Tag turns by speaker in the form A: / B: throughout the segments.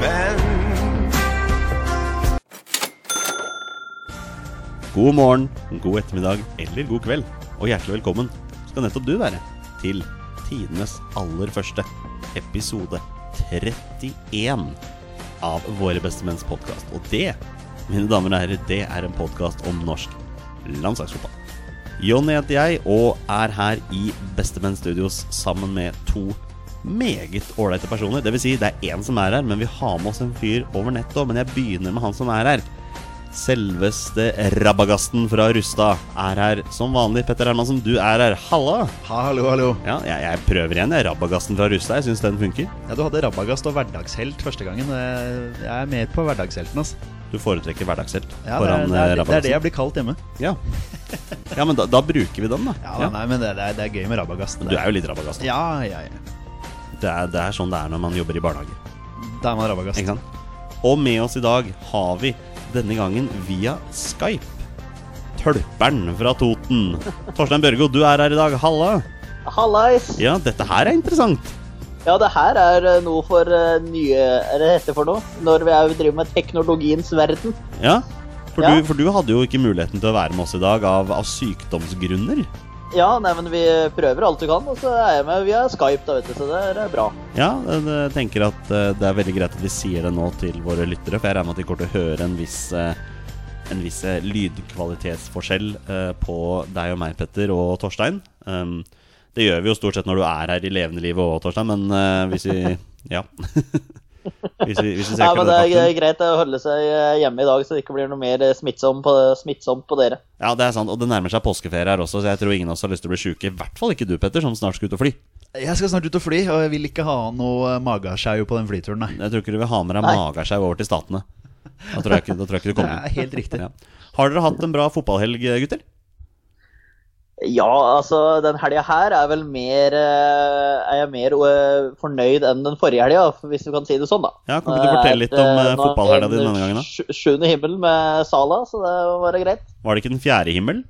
A: menn.
B: God morgen, god ettermiddag eller god kveld, og hjertelig velkommen skal nettopp du være til tidenes aller første episode 31 av Våre bestemenns podkast. Og det, mine damer og herrer, det er en podkast om norsk landslagsfotball. Jonny heter jeg og er her i Bestemenn Studios sammen med to meget ålreite personer. Det vil si, det er én som er her, men vi har med oss en fyr over nettet òg. Men jeg begynner med han som er her. Selveste rabagasten fra Rustad er her som vanlig. Petter Hermansen, du er her. Halla!
C: Hallo, hallo.
B: Ja, jeg, jeg prøver igjen, jeg. Rabagasten fra Rustad. Jeg syns den funker.
C: Ja, Du hadde Rabagast og hverdagshelt første gangen. Eh, Jeg er mer på hverdagshelten. ass.
B: Du foretrekker hverdagshelt
C: Ja, det, er,
B: foran eh,
C: det, er, det er det
B: rabagasten.
C: jeg blir kalt hjemme.
B: Ja. ja, men da, da bruker vi den, da.
C: Ja,
B: Ja.
C: Nei, men det, det, er, det er gøy med Rabagast.
B: Du er jo litt rabagast. da.
C: Ja, ja, ja.
B: Det er, det er sånn det er når man jobber i barnehage.
C: Da er man Rabagast.
B: Ikke sant? Og med oss i dag har vi denne gangen via Skype tølperen fra Toten. Torstein Børgo, du er her i dag. Halla!
D: Hallais!
B: Ja, dette her er interessant.
D: Ja, det her er eh, noe for eh, nye Er det dette for noe? Når vi er, driver med teknologiens verden.
B: Ja, for,
D: Ja.
B: Du, for du hadde jo ikke muligheten til å være med oss i dag av, av sykdomsgrunner.
D: Ja, nei, men vi prøver alt du kan, og så er jeg med via Skype, da, vet du, så det er eh, bra.
B: Ja, jeg jeg tenker at eh, det er veldig greit at vi sier det nå til våre lyttere, for jeg regner med at de kommer til å høre en viss, eh, en viss eh, lydkvalitetsforskjell eh, på deg og meg, Petter, og Torstein. Um, Det gjør vi jo stort sett når du er her i levende livet òg, Torstein, men eh, hvis vi Ja. hvis vi, hvis vi
D: Nei,
B: ser
D: men det er
B: det
D: eh, greit å holde seg eh, hjemme i dag, så det ikke blir noe mer eh, smittsom på, smittsomt på dere.
B: Ja, det er sant. Og det nærmer seg påskeferie her også, så jeg tror ingen av oss har lyst til å bli sjuke. I hvert fall ikke du, Petter, som snart skal ut og fly.
C: Jeg skal snart ut og fly, og jeg vil ikke ha noe eh, magasjau på den flyturen, nei.
B: Jeg tror ikke du vil ha med deg
D: Nei.
B: magasjau over til Statene. Da tror jeg ikke, da tror jeg ikke du
C: Det
B: kommer.
C: er helt riktig.
B: Ja. Har dere hatt en bra fotballhelg, gutter?
D: Ja, altså, den helga her er vel mer eh, Er jeg mer eh, fornøyd enn den forrige helga, hvis du kan si det sånn, da.
B: Ja, kan ikke du
D: Det er,
B: fortelle litt om
D: eh,
B: eh,
D: nå er
B: fotballhelga di
D: det
B: denne gangen? da?
D: sju- Sjuende himmel med Sala, så det var bare greit.
B: Var det ikke den fjerde himmel?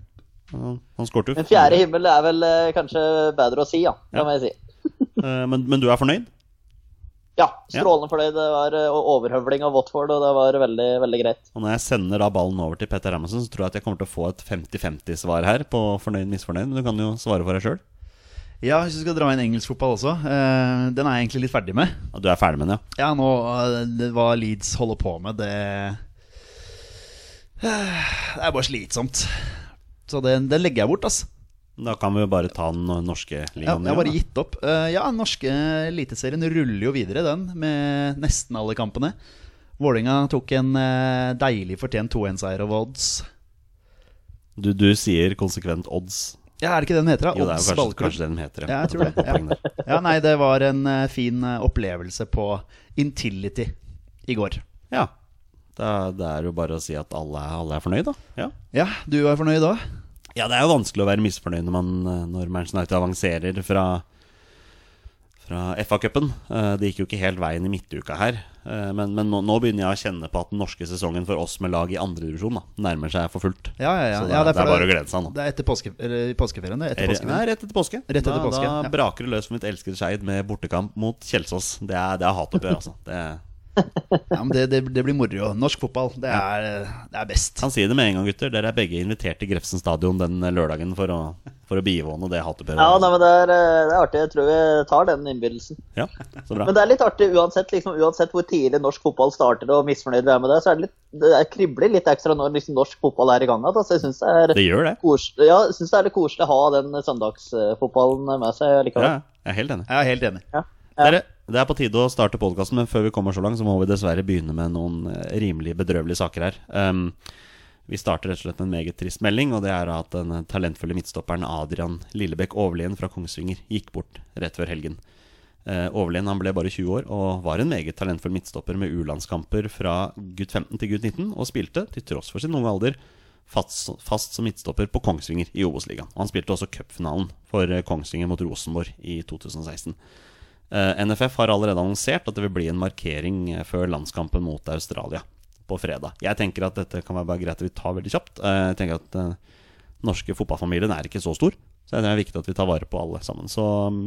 B: Ja, Han skårte jo.
D: Men fjerde himmel er vel eh, kanskje bedre å si, ja.
B: Ja.
D: Det må jeg si.
B: Eh, Men, men du er fornøyd?
D: Ja, strålende fornøyd. Det var eh, overhøvling av Watford, og det var veldig, veldig greit.
B: Og når jeg sender da ballen over til Petter Amundsen, så tror jeg at jeg kommer til å få et 50-50-svar her på fornøyd, misfornøyd. Men du kan jo svare for deg sjøl.
C: Ja, hvis du skal dra inn engelsk fotball også. eh, den er jeg egentlig litt ferdig med.
B: Du er ferdig med den, ja?
C: Ja, nå eh, det- Hva Leeds holder på med, det eh, Det er bare slitsomt. Så den, den legger jeg bort, altså.
B: Da kan vi jo bare ta den norske
C: Ja,
B: ligaen.
C: jeg har bare gitt opp. Eh, ja, norske eliteserien ruller jo videre, den, med nesten alle kampene. Vålinga tok en eh, deilig fortjent 2-1-seier over odds.
B: Du, du sier konsekvent odds.
C: Ja, er det ikke det den heter? da?
B: Jo, det er jo
C: Odds
B: kanskje,
C: ballklubb.
B: kanskje det den heter.
C: Ja, jeg tror det.
B: Poeng der.
C: Ja. ja, nei, det var en eh, fin eh, opplevelse på Intility i går.
B: ja. Da, det er jo bare å si at alle, er- alle er fornøyd, da. Ja.
C: Ja, du er fornøyd da?
B: Ja, det er jo vanskelig å være misfornøyd når, man, eh, når Manchester United avanserer fra, fra FA-cupen. Eh, Det gikk jo ikke helt veien i midtuka her. Eh, Men, men nå, nå begynner jeg å kjenne på at den norske sesongen for oss med lag i andredivisjon nærmer seg for fullt.
C: Ja, ja, ja.
B: Så det,
C: ja,
B: det, er
C: fordi-
B: bare å glede seg nå.
C: Det er etter påske, eller, påskeferien, det. Etter
B: Er- Nei,
C: påskeferien.
B: rett etter påske.
C: Rett etter
B: da,
C: påske,
B: da
C: ja.
B: braker det løs for mitt elskede Skeid med bortekamp mot Kjelsås. Det er, det er hatoppgjør, altså. Det,
C: Ja, men det, det, det blir moro. Norsk fotball, det er, eh, det er best.
B: kan si det med en gang, gutter. Dere er begge invitert til Grefsen stadion den eh, lørdagen for å, for å bivåne det hatoppgjøret.
D: Ja, nei, men det er, eh, det er artig. Jeg tror vi tar den innbydelsen.
B: Ja, så bra.
D: Men det er litt artig uansett, liksom, uansett hvor tidlig norsk fotball starter og misfornøyd vi er med det, så er det litt, det er- kribler litt ekstra når liksom, norsk fotball er i gang igjen. Så jeg syns det, er
B: Det gjør det.
D: koselig- ja, jeg synes det er litt koselig å ha den søndagsfotballen med seg
B: Ja,
D: likevel.
B: jeg er helt enig.
C: Jeg er helt enig.
B: Dere, det er på tide å starte podkasten, men før vi kommer så langt, så må vi dessverre begynne med noen eh, rimelig bedrøvelige saker her. Um, vi starter rett og slett med en meget trist melding, og det er at den eh, talentfulle midtstopperen Adrian Lillebekk Overlien fra Kongsvinger gikk bort rett før helgen. Eh, Overlien han ble bare 20 år og var en meget talentfull midtstopper med U-landskamper fra gutt 15 til gutt 19, og spilte, til tross for sin unge alder, fast, fast som midtstopper på Kongsvinger i Obos-ligaen. Og Han spilte også cupfinalen for eh, Kongsvinger mot Rosenborg i 2016. Eh, NFF har allerede annonsert at det vil bli en markering eh, før landskampen mot Australia på fredag. Jeg tenker at dette kan være bare greit at vi tar veldig kjapt. Eh, jeg tenker at eh, norske fotballfamilien er ikke så stor, så jeg tror det er viktig at vi tar vare på alle sammen. Så mm,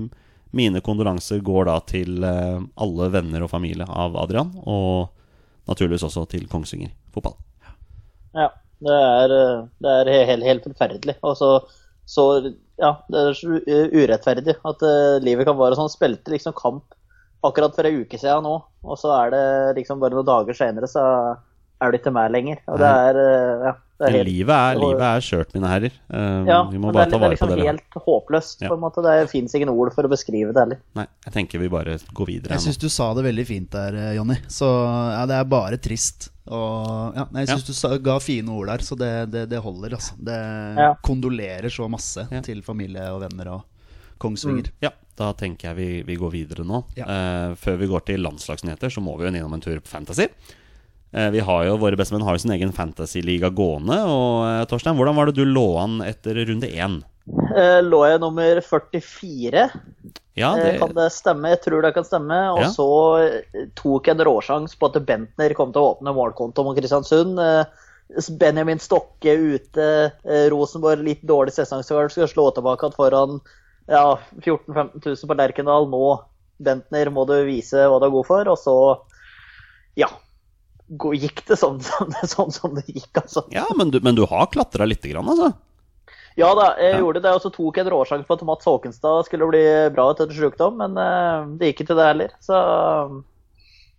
B: Mine kondolanser går da til eh, alle venner og familie av Adrian, og naturligvis også til Kongsvinger fotball.
D: Ja, det er, eh, det er he- helt, helt forferdelig. Og så, så ja, det er så u- urettferdig at eh, livet kan være sånn. Han Spilte liksom kamp akkurat for ei uke siden nå, og så er det liksom bare noen dager senere så er du ikke med lenger. Og det er, eh, ja, det er
B: Men
D: helt
B: livet er,
D: og-
B: livet er skjørt, mine herrer. Eh,
D: ja,
B: vi må
D: men det
B: bare
D: er,
B: ta
D: det er
B: vare på
D: liksom
B: det vi har.
D: helt håpløst, på en måte. Det fins ingen ord for å beskrive det heller.
B: Nei, jeg tenker vi bare går videre.
C: Jeg
B: nå.
C: syns du sa det veldig fint der, eh, Jonny. Så ja, det er bare trist. Og ja, nei, jeg syns du sa, ga fine ord der, så det, det, det holder, altså. Det
D: Ja.
C: kondolerer så masse
B: Ja.
C: til familie og venner og Kongsvinger.
B: Ja, da tenker jeg vi, vi går videre nå.
C: Ja.
B: Eh, før vi går til landslagsnyheter, så må vi jo innom en tur på Fantasy. Eh, vi har jo, Våre bestemenn har jo sin egen fantasyliga gående. Og eh, Torstein, hvordan var det du lå an etter runde én?
D: Eh, Lå jeg nummer 44?
B: Ja,
D: Eh, Kan
B: det,
D: det stemme? Jeg tror det kan stemme. Og
B: Ja.
D: så eh, tok jeg en råsjans på at Bentner kom til å åpne målkonto mot Kristiansund. Eh, Benjamin Stokke ute, eh, Rosenborg litt dårlig sesongstart, skal slå tilbake igjen foran ja, 14 000-15 000 på Lerkendal. Nå, Bentner, må du vise hva du er god for. Og så, ja gå- Gikk det sånn som det, sånn som det gikk, altså?
B: ja men, du, men du har klatra lite grann, altså?
D: Ja da, jeg
B: Ja.
D: gjorde det. Og så tok jeg en råsjanse på at Mats Håkenstad skulle bli bra etter sjukdom, men eh, det gikk ikke det heller. Så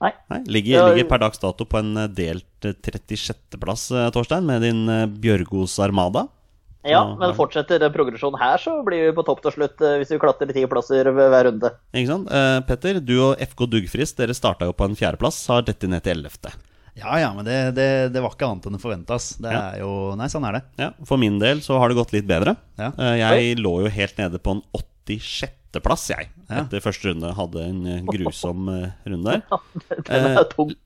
D: nei.
B: Nei, ligger,
D: Ja,
B: ligger per dags dato på en eh, delt eh, 36.-plass, eh, Torstein, med din eh, Bjørgos Armada.
D: Ja,
B: Ja,
D: men
B: ja.
D: fortsetter den progresjonen her, så blir vi på topp til slutt eh, hvis vi klatrer ti plasser ved hver runde.
B: Ikke sant? Eh, Petter, du og FK Duggfrist dere starta jo på en fjerdeplass, har dette ned til ellevte.
C: Ja ja, men det, det, det var ikke annet enn å forvente, ass. Det
B: Ja.
C: er jo Nei, sånn er det.
B: Ja, For min del så har det gått litt bedre.
C: Ja.
B: Eh, Jeg lå jo helt nede på en 86.-plass, jeg,
C: Ja.
B: etter første runde. Hadde en eh, grusom eh, runde der.
D: Den
B: Eh,
D: er tung.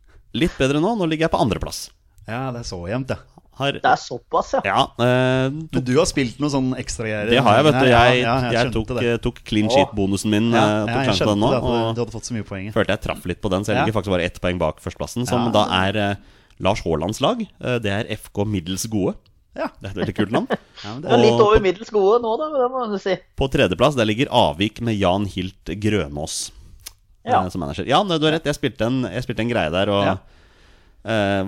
B: Litt bedre nå. Nå ligger jeg på andreplass.
C: Ja, det er så jevnt, ja.
B: Har
D: Det er såpass, ja.
B: Ja. eh,
C: Men du har spilt noe sånn ekstragreier?
B: Det har jeg, vet du.
C: Ja,
B: Jeg,
C: ja,
B: jeg
C: skjønte
B: tok,
C: det.
B: eh, tok clean sheet-bonusen min.
C: Ja,
B: eh,
C: ja,
B: tok
C: jeg
B: sjansen på den
C: skjønte
B: nå,
C: det, at du,
B: og
C: du hadde fått så mye poeng.
B: følte jeg traff litt på den, så jeg
C: Ja.
B: ligger faktisk bare ett poeng bak førsteplassen, som
C: Ja.
B: da er eh, Lars Haalands lag. Eh, Det er FK middels gode.
C: Ja.
B: Det er et veldig kult navn.
C: Ja, men det,
D: Det er litt
B: og-
D: over middels gode nå, da, det må du si.
B: På tredjeplass der ligger Avvik med Jan Hilt Grønås eh,
D: Ja.
B: som manager. Ja, nei, du har rett. Jeg spilte en, jeg spilte en greie der og
C: Ja.
B: eh,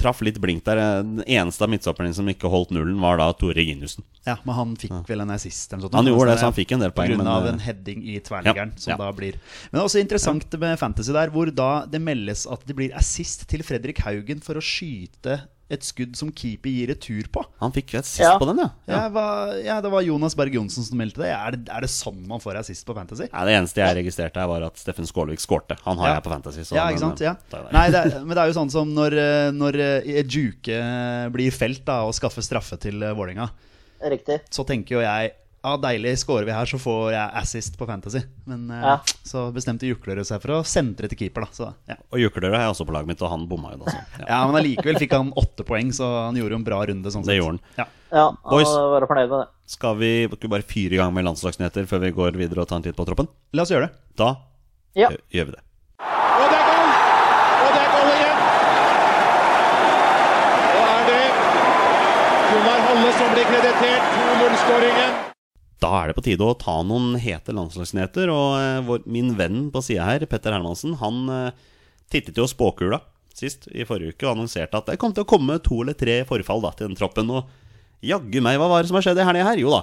B: traff litt blink der. Eh, Den eneste av midtstopperne som ikke holdt nullen, var da Tore Ginussen.
C: ja, men han fikk vel en assist eller noe sånt.
B: Han gjorde det, så han
C: ja.
B: fikk en del
C: På
B: poeng.
C: grunn
B: men,
C: av
B: eh,
C: en heading i tverrliggeren,
B: ja,
C: som
B: ja.
C: da blir Men det er også interessant med fantasy der, hvor da det meldes at det blir assist til Fredrik Haugen for å skyte et skudd som keeper gir retur på.
B: han fikk jo et sist
D: Ja.
B: på den, ja. ja.
C: Ja, hva, ja, det var Jonas Berg Johnsen som meldte det. Er, det. er det sånn man får assist på fantasy?
B: Nei, det eneste jeg registrerte, her var at Steffen Skålvik skårte. Han har
C: Ja.
B: jeg på Fantasy. så
C: Ja,
B: den,
C: ikke sant? Ja.
B: eh, tar jeg der.
C: Nei, det er, men det er jo sånn som når, eh, når eh, Juke blir felt da, og skaffer straffe til eh, Vålerenga.
D: Riktig.
C: Så tenker jo jeg ja, deilig, scorer vi her, så får jeg assist på Fantasy. Men eh,
D: Ja.
C: så bestemte Juklerød seg for å sentre til keeper, da. Så, ja.
B: Og Juklerød har jeg også på laget mitt, og han bomma jo da. Så. Ja.
C: Ja, men allikevel fikk han åtte poeng, så han gjorde jo en bra runde. Sånn
B: Det
C: sett.
B: gjorde han.
C: Ja.
D: Ja,
B: Boys.
D: må være fornøyd med det.
B: Skal vi skal vi bare fyre i gang med landslagsnyheter før vi går videre og tar en titt på troppen?
C: La oss gjøre det.
B: Da
D: Ja.
B: eh, gjør vi det.
A: Og det er goal! Og det er goal igjen! Og er det Gunnar Halle som blir kreditert 2-0-skåringen.
B: Da er det på tide å ta noen hete landslagsnyheter. Og eh, vår, min venn på sida her, Petter Hermansen, han eh, tittet jo spåkula sist i forrige uke og annonserte at det kom til å komme to eller tre forfall da, til den troppen. Og jaggu meg, hva var det som har skjedd i helga her? Jo da.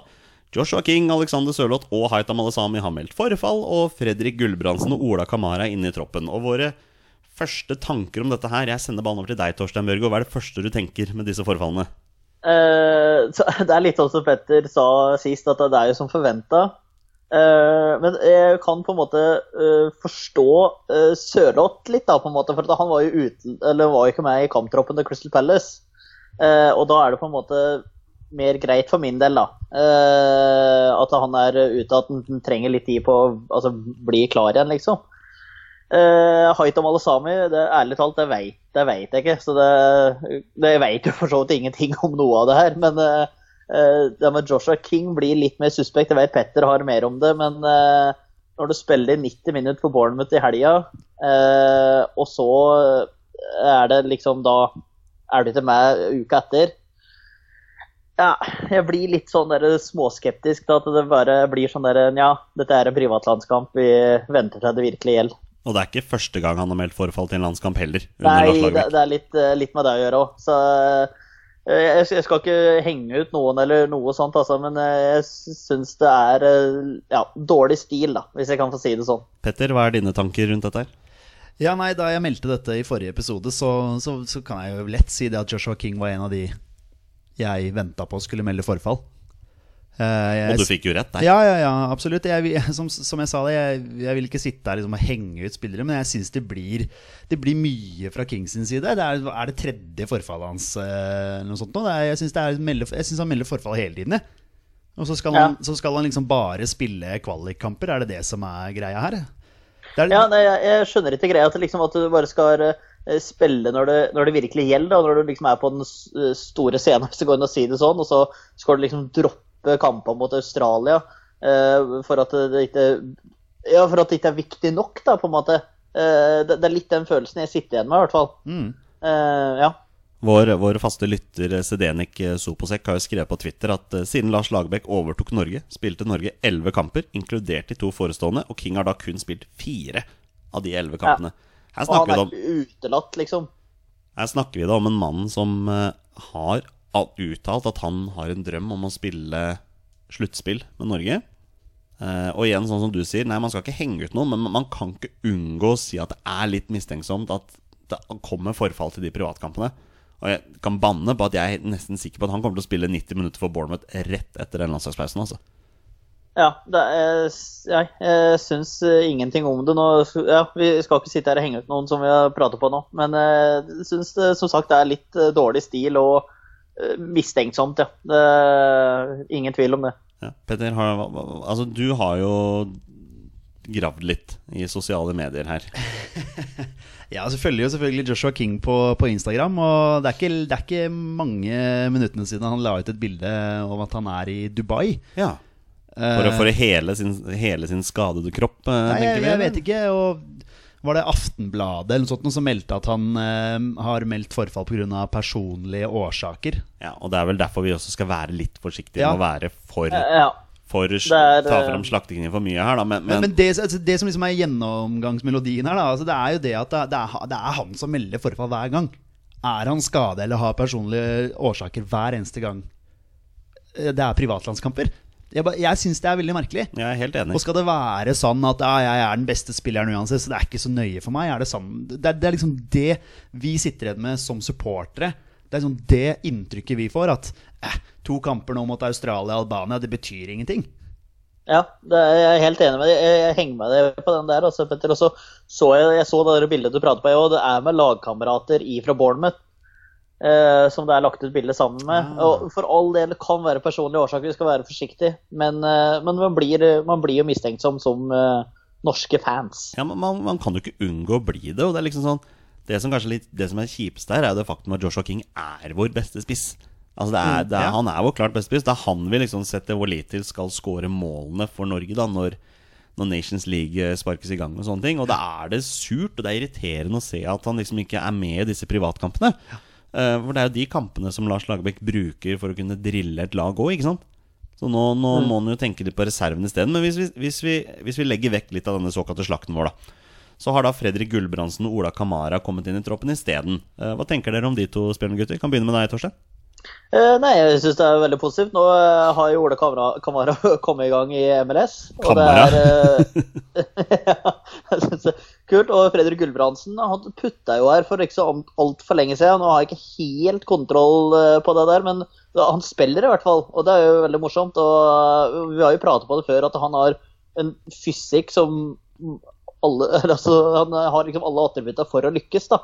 B: Joshua King, Alexander Sørloth og Haitam Alesami har meldt forfall, og Fredrik Gulbrandsen og Ola Kamara er inne i troppen. Og våre første tanker om dette her Jeg sender ballen over til deg, Torstein Børgo. Hva er det første du tenker med disse forfallene?
D: Eh, så det er litt sånn som Petter sa sist, at det er jo som forventa. Eh, men jeg kan på en måte eh, forstå uh, Sørloth litt, da, på en måte, for at han var jo uten, eller var jo ikke med i kamptroppen til Crystal Palace. Eh, og da er det på en måte mer greit for min del, da. Eh, at han er ute, at han han trenger litt tid på å altså, bli klar igjen, liksom. Uh, Haitam Alesami, det, ærlig talt, det veit det vet jeg ikke. Så det, det veit jo for så vidt ingenting om noe av det her. Men eh, eh, det med Joshua King blir litt mer suspekt. Jeg veit Petter har mer om det. Men eh, når du spiller 90 minutter for Bournemouth i helga, eh, og så eh, er det liksom da Er du ikke med uka etter? ja, jeg blir litt sånn der småskeptisk til at det bare blir sånn der Ja, dette er en privatlandskamp, vi venter til det virkelig gjelder.
B: Og det er ikke første gang han har meldt forfall til en landskamp heller. under Lars
D: Nei, det,
B: Lagerbäck.
D: det er litt, eh, litt med det å gjøre òg. Så eh, jeg, jeg skal ikke henge ut noen eller noe sånt, altså, men eh, jeg syns det er eh, ja, dårlig stil, da, hvis jeg kan få si det sånn.
B: Petter, hva er dine tanker rundt dette her?
C: Ja, nei, Da jeg meldte dette i forrige episode, så, så, så kan jeg jo lett si det at Joshua King var en av de jeg venta på skulle melde forfall. Eh,
B: Og du
C: jeg,
B: fikk jo rett der.
C: ja, ja, ja, absolutt. Jeg, vil- som, som jeg sa det, jeg, jeg vil ikke sitte her liksom og henge ut spillere, men jeg syns det, blir- det blir mye fra Kings sin side. Det er, er det tredje forfallet hans eh, eller noe sånt nå? Det er, jeg syns det er melde- jeg syns han melder forfall hele tiden, jeg. Og så skal, han, så skal han liksom bare spille kvalikkamper, er det det som er greia her? Det er,
D: Ja, nei, jeg, jeg skjønner ikke greia at, liksom, at du bare skal eh, spille når det, når det virkelig gjelder, da, når du liksom er på den s- eh, store scenen, hvis det går an å si det sånn, og så skal du liksom droppe kamper mot Australia eh, for at det ikke Ja, for at det ikke er viktig nok, da, på en måte. Eh, det, det er litt den følelsen jeg sitter igjen med, i hvert fall.
B: Mm.
D: Eh, ja.
B: Vår, vår faste lytter eh, Sedenik Soposek har jo skrevet på Twitter at eh, siden Lars Lagerbäck overtok Norge, spilte Norge elleve kamper, inkludert de to forestående, og King har da kun spilt fire av de elleve kampene. Her
D: Og han
B: snakker, vi da
D: er
B: om,
D: utelatt, liksom.
B: her snakker vi da om en mann som eh, har al- uttalt at han har en drøm om å spille sluttspill med Norge. Eh, og igjen, sånn som du sier, nei, man skal ikke henge ut noen, men man kan ikke unngå å si at det er litt mistenksomt at det kommer forfall til de privatkampene. Og jeg kan banne på at jeg er nesten sikker på at han kommer til å spille 90 minutter for Bournemouth rett etter den landslagspausen, altså.
D: Ja, det er, jeg, jeg syns eh, ingenting om det nå. Ja, vi skal ikke sitte her og henge ut noen som vi har pratet på nå, men eh, jeg syns det som sagt det er litt eh, dårlig stil og eh, mistenksomt, ja. Det er ingen tvil om det.
B: Ja. Petter, har, hva- hva- altså, du har jo gravd litt i sosiale medier her.
C: Ja, så følger jo selvfølgelig Joshua King på, på Instagram. Og det er, ikke, det er ikke mange minuttene siden han la ut et bilde om at han er i Dubai.
B: Ja. For å, for å hele, sin, hele sin skadede kropp, eh,
C: Nei,
B: tenker
C: Eh. jeg,
B: vi?
C: jeg
B: eller?
C: vet ikke. Og var det Aftenbladet eller noe sånt noe som meldte at han eh, har meldt forfall pga. personlige årsaker?
B: Ja, og det er vel derfor vi også skal være litt forsiktige
C: Ja.
B: med å være for,
D: Eh, Ja.
B: for sl-
D: er,
B: ta
D: eh,
B: fram slaktekniven for mye her, da. Men,
C: Men,
B: men,
C: men det, altså, det som liksom er gjennomgangsmelodien her, da, altså, det er jo det at det, det, er, ha- det er han som melder forfall hver gang. Er han skada eller har personlige årsaker hver eneste gang eh, det er privatlandskamper? Jeg, ba- jeg syns det er veldig merkelig.
B: jeg er helt enig.
C: Og skal det være sånn at ja, jeg er den beste spilleren uansett, så det er ikke så nøye for meg? Er det, sånn, det, er- det er liksom det vi sitter igjen med som supportere. Det er liksom det inntrykket vi får, at eh, to kamper nå mot Australia og Albania, det betyr ingenting.
D: Ja, det er jeg er helt enig med deg. Jeg, jeg henger med deg på den der. Altså, Petter. Og så så jeg, jeg så det der bildet du prater på, jeg også. Det er med lagkamerater ifra Bournemouth. eh, som det er lagt ut bilde sammen med. Og for all del det kan være personlige årsaker, vi skal være forsiktige. Men, eh, men man, blir, man blir jo mistenksom som eh, norske fans.
B: Ja, men man, man kan jo ikke unngå å bli det. Og det er liksom sånn Det som kanskje er litt, det som er kjipest her, er jo det faktum at Joshua King er vår beste spiss. Altså det er, det er,
C: ja.
B: Han er vår klart beste spiss. Det er han vi liksom setter vår lit til skal score målene for Norge da når, når Nations League eh, sparkes i gang og sånne ting. Og da er det surt og det er irriterende å se at han liksom ikke er med i disse privatkampene. Eh, for det er jo de kampene som Lars Lagerbäck bruker for å kunne drille et lag òg, ikke sant? Så nå, nå må han jo tenke litt på reserven isteden. Men hvis vi, hvis, vi, hvis vi legger vekk litt av denne såkalte slakten vår, da. Så har da Fredrik Gulbrandsen og Ola Kamara kommet inn i troppen isteden. Eh, Hva tenker dere om de to spillende gutter? Kan begynne med deg, Torstein.
D: Eh, nei, jeg syns det er veldig positivt. Nå eh, har jo Ole Kamara, Kamara kommet i gang i MLS. og det
B: Kamara?
D: er, eh, ja, jeg synes det er kult. Og Fredrik Gulbrandsen han putta jo her for ikke så altfor lenge siden. Nå har jeg ikke helt kontroll eh, på det der, men han spiller i hvert fall. Og det er jo veldig morsomt. Og eh, vi har jo pratet på det før at han har en fysikk som alle, altså, han har liksom alle attributter for å lykkes, da.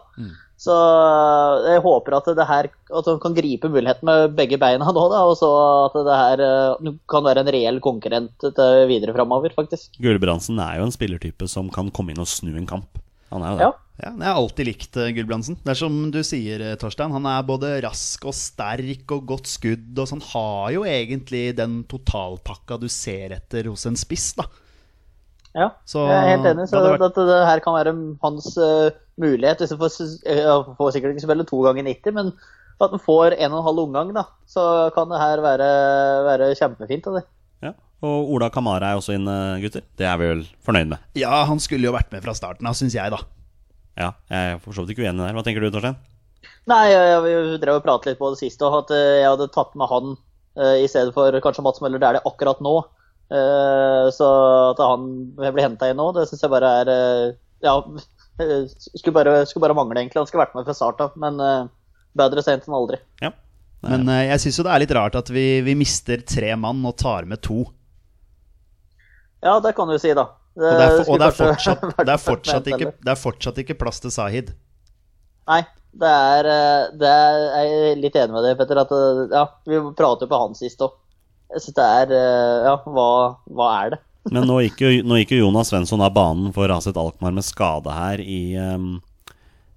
D: Så eh, jeg håper at det her At han kan gripe muligheten med begge beina nå, da. Og så at det her eh, kan være en reell konkurrent til eh, videre framover, faktisk.
B: Gulbrandsen er jo en spillertype som kan komme inn og snu en kamp. Han er jo det.
D: Ja.
C: Ja, men Jeg har alltid likt eh, Gulbrandsen. Det er som du sier, eh, Torstein. Han er både rask og sterk og godt skudd. Og så han har jo egentlig den totalpakka du ser etter hos en spiss, da.
D: ja.
C: Så-
D: jeg er helt enig. Så
C: Ja, det var-
D: at det her kan være hans eh, mulighet. Hvis han får, s- eh, han får sikkert ikke spille to ganger 90, men At den får en og en halv omgang, da. Så kan det her være, være kjempefint. da, Det.
B: Ja. Og Ola Kamara er også inne, gutter. Det er vi vel fornøyd med.
C: Ja, han skulle jo vært med fra starten av, syns jeg, da.
B: Ja, jeg er for så vidt ikke uenig der. Hva tenker du, Torstein?
D: Nei, jeg, jeg, vi drev og pratet litt på det siste, og at eh, jeg hadde tatt med han eh, i stedet for kanskje Mats Møller Dæhlie akkurat nå. Eh, så at han blir henta inn nå, det syns jeg bare er eh, Ja, eh, skulle bare, skulle bare mangle, egentlig. Han skulle vært med fra start av, men eh, bedre sent enn aldri.
B: Ja. Nei,
C: Men eh, jeg syns jo det er litt rart at vi, vi mister tre mann og tar med to.
D: Ja, det kan du si, da. Det
C: Og det er, for, og
D: Eh, skulle
C: det er,
D: kanskje
C: fortsatt, det
D: vært
C: er,
D: med
C: fortsatt,
D: henta,
C: ikke,
D: eller?
C: det er fortsatt ikke plass til Sahid.
D: Nei, det er, eh, det er Jeg er litt enig med deg, Petter. At, eh, ja, vi prater jo på han sist òg. Jeg syns det er eh, Ja, hva, hva er det?
B: Men nå gikk, jo, nå gikk jo Jonas Svensson av banen for Raset Alkmaar med skade her i, ehm,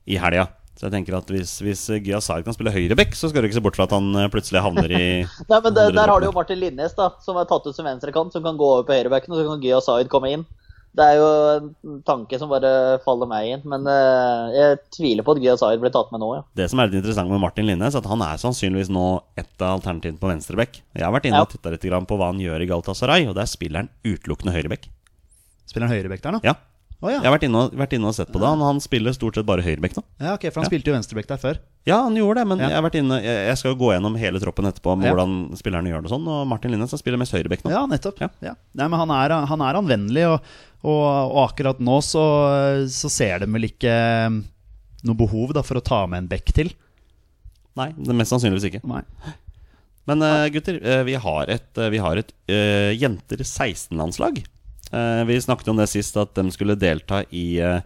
B: i helga. Så jeg tenker at hvis, hvis Gya Sahid kan spille høyreback, så skal du ikke se bort fra at han eh, plutselig havner i
D: Nei, men det,
B: andre
D: Der har du jo
B: løpene.
D: Martin Linnes, da, som er tatt ut som venstrekant, som kan gå over på høyrebacken, og så kan Gya Zaid komme inn. Det er jo en tanke som bare faller meg inn, men eh, jeg tviler på at Gya Zaid blir tatt med nå, ja.
B: Det som er litt interessant med Martin Linnes, er at han er sannsynligvis nå et av alternativene på venstreback. Jeg har vært inne
D: Ja.
B: og titta litt grann på hva han gjør i Galatasaray, og der spiller han utelukkende høyreback.
C: Spiller han høyrebekk der nå?
B: Ja.
C: Å ja.
B: Jeg har vært inne, og, vært inne og sett på det. Han, han spiller stort sett bare høyreback nå.
C: ja, ok, for han spilte jo venstrebekk der før.
B: Ja, han gjorde det, men
C: Ja.
B: jeg, har vært inne, jeg, jeg skal jo gå gjennom hele troppen etterpå med
C: Ja.
B: hvordan spillerne gjør det og sånn, og Martin Linnes han spiller mest høyreback nå.
C: Ja, nettopp.
B: Ja.
C: Ja. Nei, men han er, han er anvendelig, og, og, og akkurat nå så, så ser de vel ikke um, noe behov da, for å ta med en bekk til.
B: Nei, det mest sannsynligvis ikke.
C: Nei.
B: Men eh, gutter, eh, vi har et, eh, vi har et eh, jenter 16-landslag. Eh, vi snakket om det sist, at de skulle delta i eh,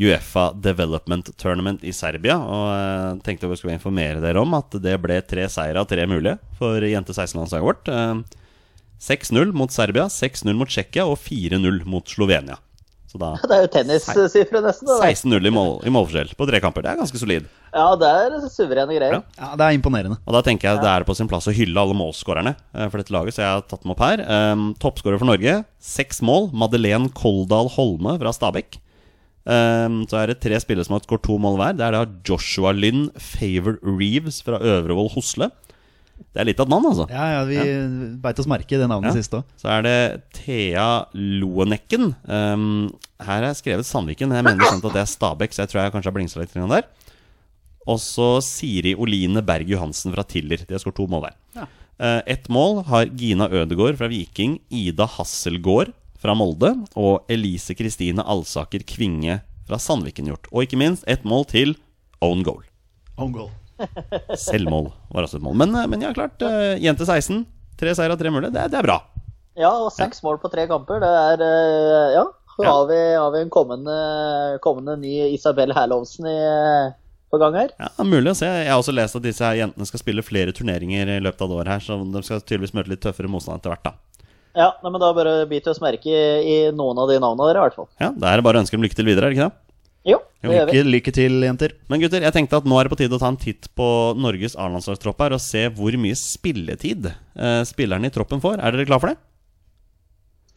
B: Uefa Development Tournament i Serbia. Og eh, tenkte vi skulle informere dere om at det ble tre seire av tre mulige for jente 16-landslaget vårt. Eh, 6-0 mot Serbia, 6-0 mot Tsjekkia og 4-0 mot Slovenia. Så da
D: Det er jo tennissifre, nesten. Det der.
B: 16-0 i, mål, i målforskjell på tre kamper. Det er ganske solid.
D: Ja, det er suverene greier.
B: Ja.
C: Ja, det er imponerende.
B: Og da tenker jeg det er på sin plass å hylle alle målskårerne eh, for dette laget, så jeg har tatt dem opp her. Um, Toppskårer for Norge, seks mål. Madeleine Koldal Holme fra Stabekk. Um, så er det tre spillere som har skåret to mål hver. Det er da Joshua Lynn Favor Reeves fra Øvrevoll Hosle. Det er litt av et navn, altså.
C: Ja, ja, vi beit oss merke i det navnet
B: Ja.
C: sist òg.
B: Så er det Thea Loenecken. Um, her er skrevet Sandviken, men jeg mener bestemt at det er Stabæk, så jeg tror jeg kanskje har blingsa litt grann der. Og så Siri Oline Berg Johansen fra Tiller. De har skåret to mål der.
C: Ja.
B: Eh, Ett mål har Gina Ødegaard fra Viking, Ida Hasselgaard fra Molde og Elise Kristine Alsaker Kvinge fra Sandviken gjort. Og ikke minst ett mål til own goal.
C: Own goal.
B: Selvmål var også et mål. Men, eh, men ja, klart. eh, Jente 16. Tre seier av tre mulige. Det, er- det er bra.
D: Ja, og seks mål på tre kamper, det er eh, Ja. Så
B: Ja.
D: har vi, har vi en kommende, kommende ny Isabel Herlovsen i, på gang her.
B: Ja, det er mulig å se. Jeg har også lest at disse her jentene skal spille flere turneringer i løpet av det året her, så de skal tydeligvis møte litt tøffere motstand etter hvert, da.
D: Ja, nei, men da bare biter vi oss merke i, i noen av de navnene der, i hvert fall.
B: Ja, Da er det bare å ønske dem lykke til videre, er det ikke det?
D: Jo, det gjør vi.
C: Lykke, lykke til, jenter.
B: Men gutter, jeg tenkte at nå er det på tide å ta en titt på Norges A-landslagstropp her, og se hvor mye spilletid eh, spillerne i troppen får. Er dere klar for det?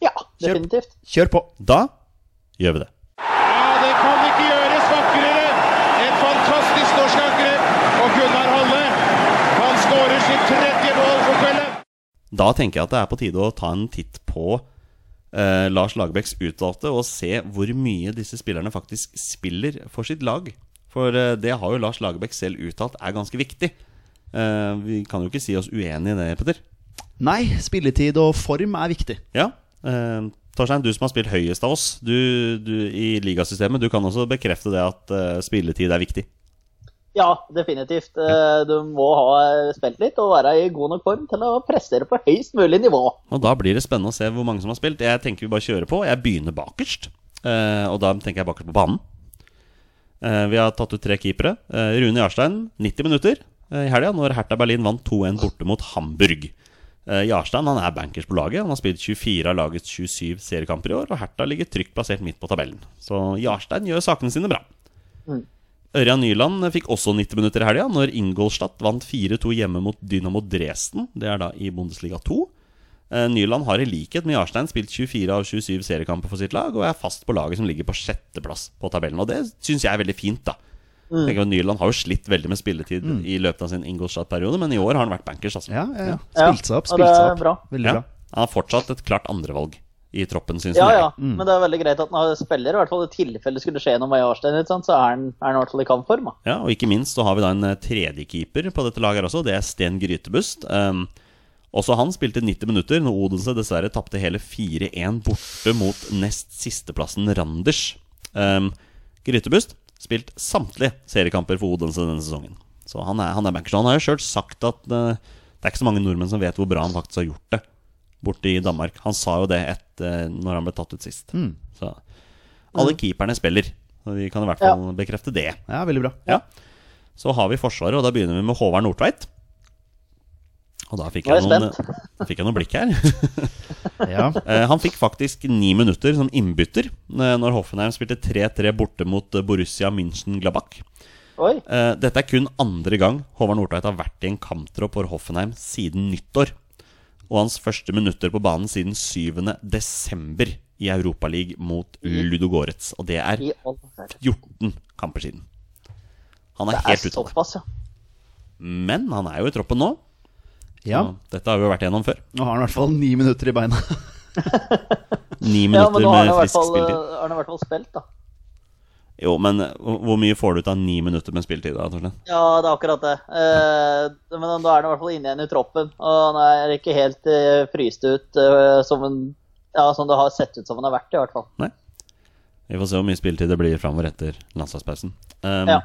D: Ja, definitivt.
C: Kjør på.
B: Da gjør vi det.
A: Ja, det kan ikke gjøres vakrere. En fantastisk norsk angrep. Og Gunnar Halle, han skårer sitt tredje mål for kvelden.
B: Da tenker jeg at det er på tide å ta en titt på eh, Lars Lagerbäcks utvalgte, og se hvor mye disse spillerne faktisk spiller for sitt lag. For eh, det har jo Lars Lagerbäck selv uttalt er ganske viktig. Eh, vi kan jo ikke si oss uenig i det, Petter.
C: Nei, spilletid og form er viktig.
B: Ja. Eh, Torstein, du som har spilt høyest av oss du, du, i ligasystemet, du kan også bekrefte det at eh, spilletid er viktig.
D: Ja, definitivt. Eh, Du må ha eh, spilt litt og være i god nok form til å prestere på høyst mulig nivå.
B: Og da blir det spennende å se hvor mange som har spilt. Jeg tenker vi bare kjører på. Jeg begynner bakerst. eh, og da tenker jeg bakerst på banen. Eh, vi har tatt ut tre keepere. Eh, Rune Jarstein, 90 minutter eh, i helga, når Hertha Berlin vant 2-1 borte mot Hamburg. Eh, Jarstein han er bankers på laget. Han har spilt 24 av lagets 27 seriekamper i år, og Hertha ligger trygt plassert midt på tabellen. Så Jarstein gjør sakene sine bra. Ørjan Nyland fikk også 90 minutter i helga, når Ingolstadt vant 4-2 hjemme mot Dynamo Dresden. Det er da i Bundesliga 2. Eh, Nyland har i likhet med Jarstein spilt 24 av 27 seriekamper for sitt lag, og er fast på laget som ligger på sjetteplass på tabellen. Og det syns jeg er veldig fint, da. Jeg tenker at Nyland har jo slitt veldig med spilletid i løpet av sin Ingolstadt-periode, men i år har han vært bankers. Altså.
C: Ja, ja, ja.
D: Ja.
C: Spilt seg opp.
D: Ja,
C: Spilt
D: det
C: seg
D: er
C: opp.
D: bra.
C: Veldig
B: Ja.
C: bra.
B: Han har fortsatt et klart andrevalg i troppen, syns
D: Ja,
B: jeg.
D: ja, men det er veldig greit at han har spiller, i hvert fall i tilfelle det skulle skje noe med Jarstein, ikke sant, så er han, er han i hvert fall i kampform. da.
B: Ja, og ikke minst så har vi da en eh, tredjekeeper på dette laget her også. Det er Sten Grytebust. Um, også han spilte 90 minutter, når Odense dessverre tapte hele 4-1 borte mot nest sisteplassen Randers. Um, Grytebust spilt samtlige seriekamper for Odense denne sesongen. Så han er, han er bankers. Og Han har jo sjøl sagt at eh, det er ikke så mange nordmenn som vet hvor bra han faktisk har gjort det borte i Danmark. Han sa jo det et, eh, når han ble tatt ut sist. Så alle keeperne spiller. Så vi kan i hvert fall bekrefte det.
C: Ja, veldig bra.
B: Ja. Så har vi Forsvaret, og da begynner vi med Håvard Nordtveit. Og da fikk
D: Nå er
B: jeg,
D: jeg
B: noen, da fikk jeg noen blikk her.
C: Ja.
B: Eh, Han fikk faktisk ni minutter som innbytter eh, når Hoffenheim spilte 3-3 borte mot eh, Borussia München-Glabach.
D: Oi.
B: Eh, Dette er kun andre gang Håvard Nordtveit har vært i en kamptropp for Hoffenheim siden nyttår. Og hans første minutter på banen siden 7. desember i Europaligaen mot
D: Mm.
B: Ludogorets. Og det er
D: I all verden.
B: 14 kamper siden. Han
D: Det
B: er
D: er
B: helt ute av det.
D: såpass, ja.
B: Men han er jo i troppen nå.
C: ja.
B: og Dette har vi jo vært igjennom før.
C: Nå har han i hvert fall ni minutter i beina.
B: Ni
D: Ja,
B: minutter
D: men nå har han
B: med
D: i hvert
B: frisk
D: fall, eh,
B: spilletid.
D: har han i hvert fall spilt, da.
B: Jo, men eh, hvor hvor mye får du ut av ni minutter med spilletid? da, Torstein?
D: Ja, det er akkurat det. Eh, men da er han i hvert fall inne igjen i troppen, og han er ikke helt eh, fryst ut eh, som en ja, som det har sett ut som han har vært, i hvert fall.
B: Nei? Vi får se hvor mye spilletid det blir framover etter landslagspausen. Um,
D: Ja.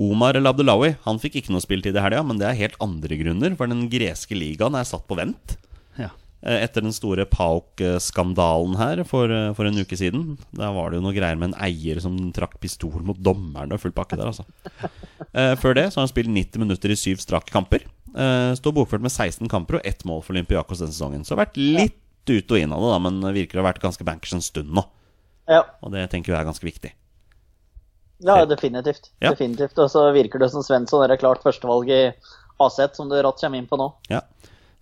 B: Omar El Abdelawi han fikk ikke noe spilletid i helga, men det er helt andre grunner. For den greske ligaen er satt på vent
C: Ja.
B: eh, etter den store Paok-skandalen her for, eh, for en uke siden. Da var det jo noe greier med en eier som trakk pistol mot dommerne og full pakke der, altså. Eh, Før det så har han spilt 90 minutter i syv strake kamper. Eh, Står bokført med 16 kamper og ett mål for Olympiakos denne sesongen. Så har vært litt ut og inn av det, da, men virker å ha vært ganske bankers en stund nå.
D: Ja,
B: Og det tenker jeg er ganske viktig.
D: ja definitivt.
B: Ja.
D: definitivt. Og så virker det som Svensson er klart førstevalg i Aset, som du rått kommer inn på nå.
B: Ja.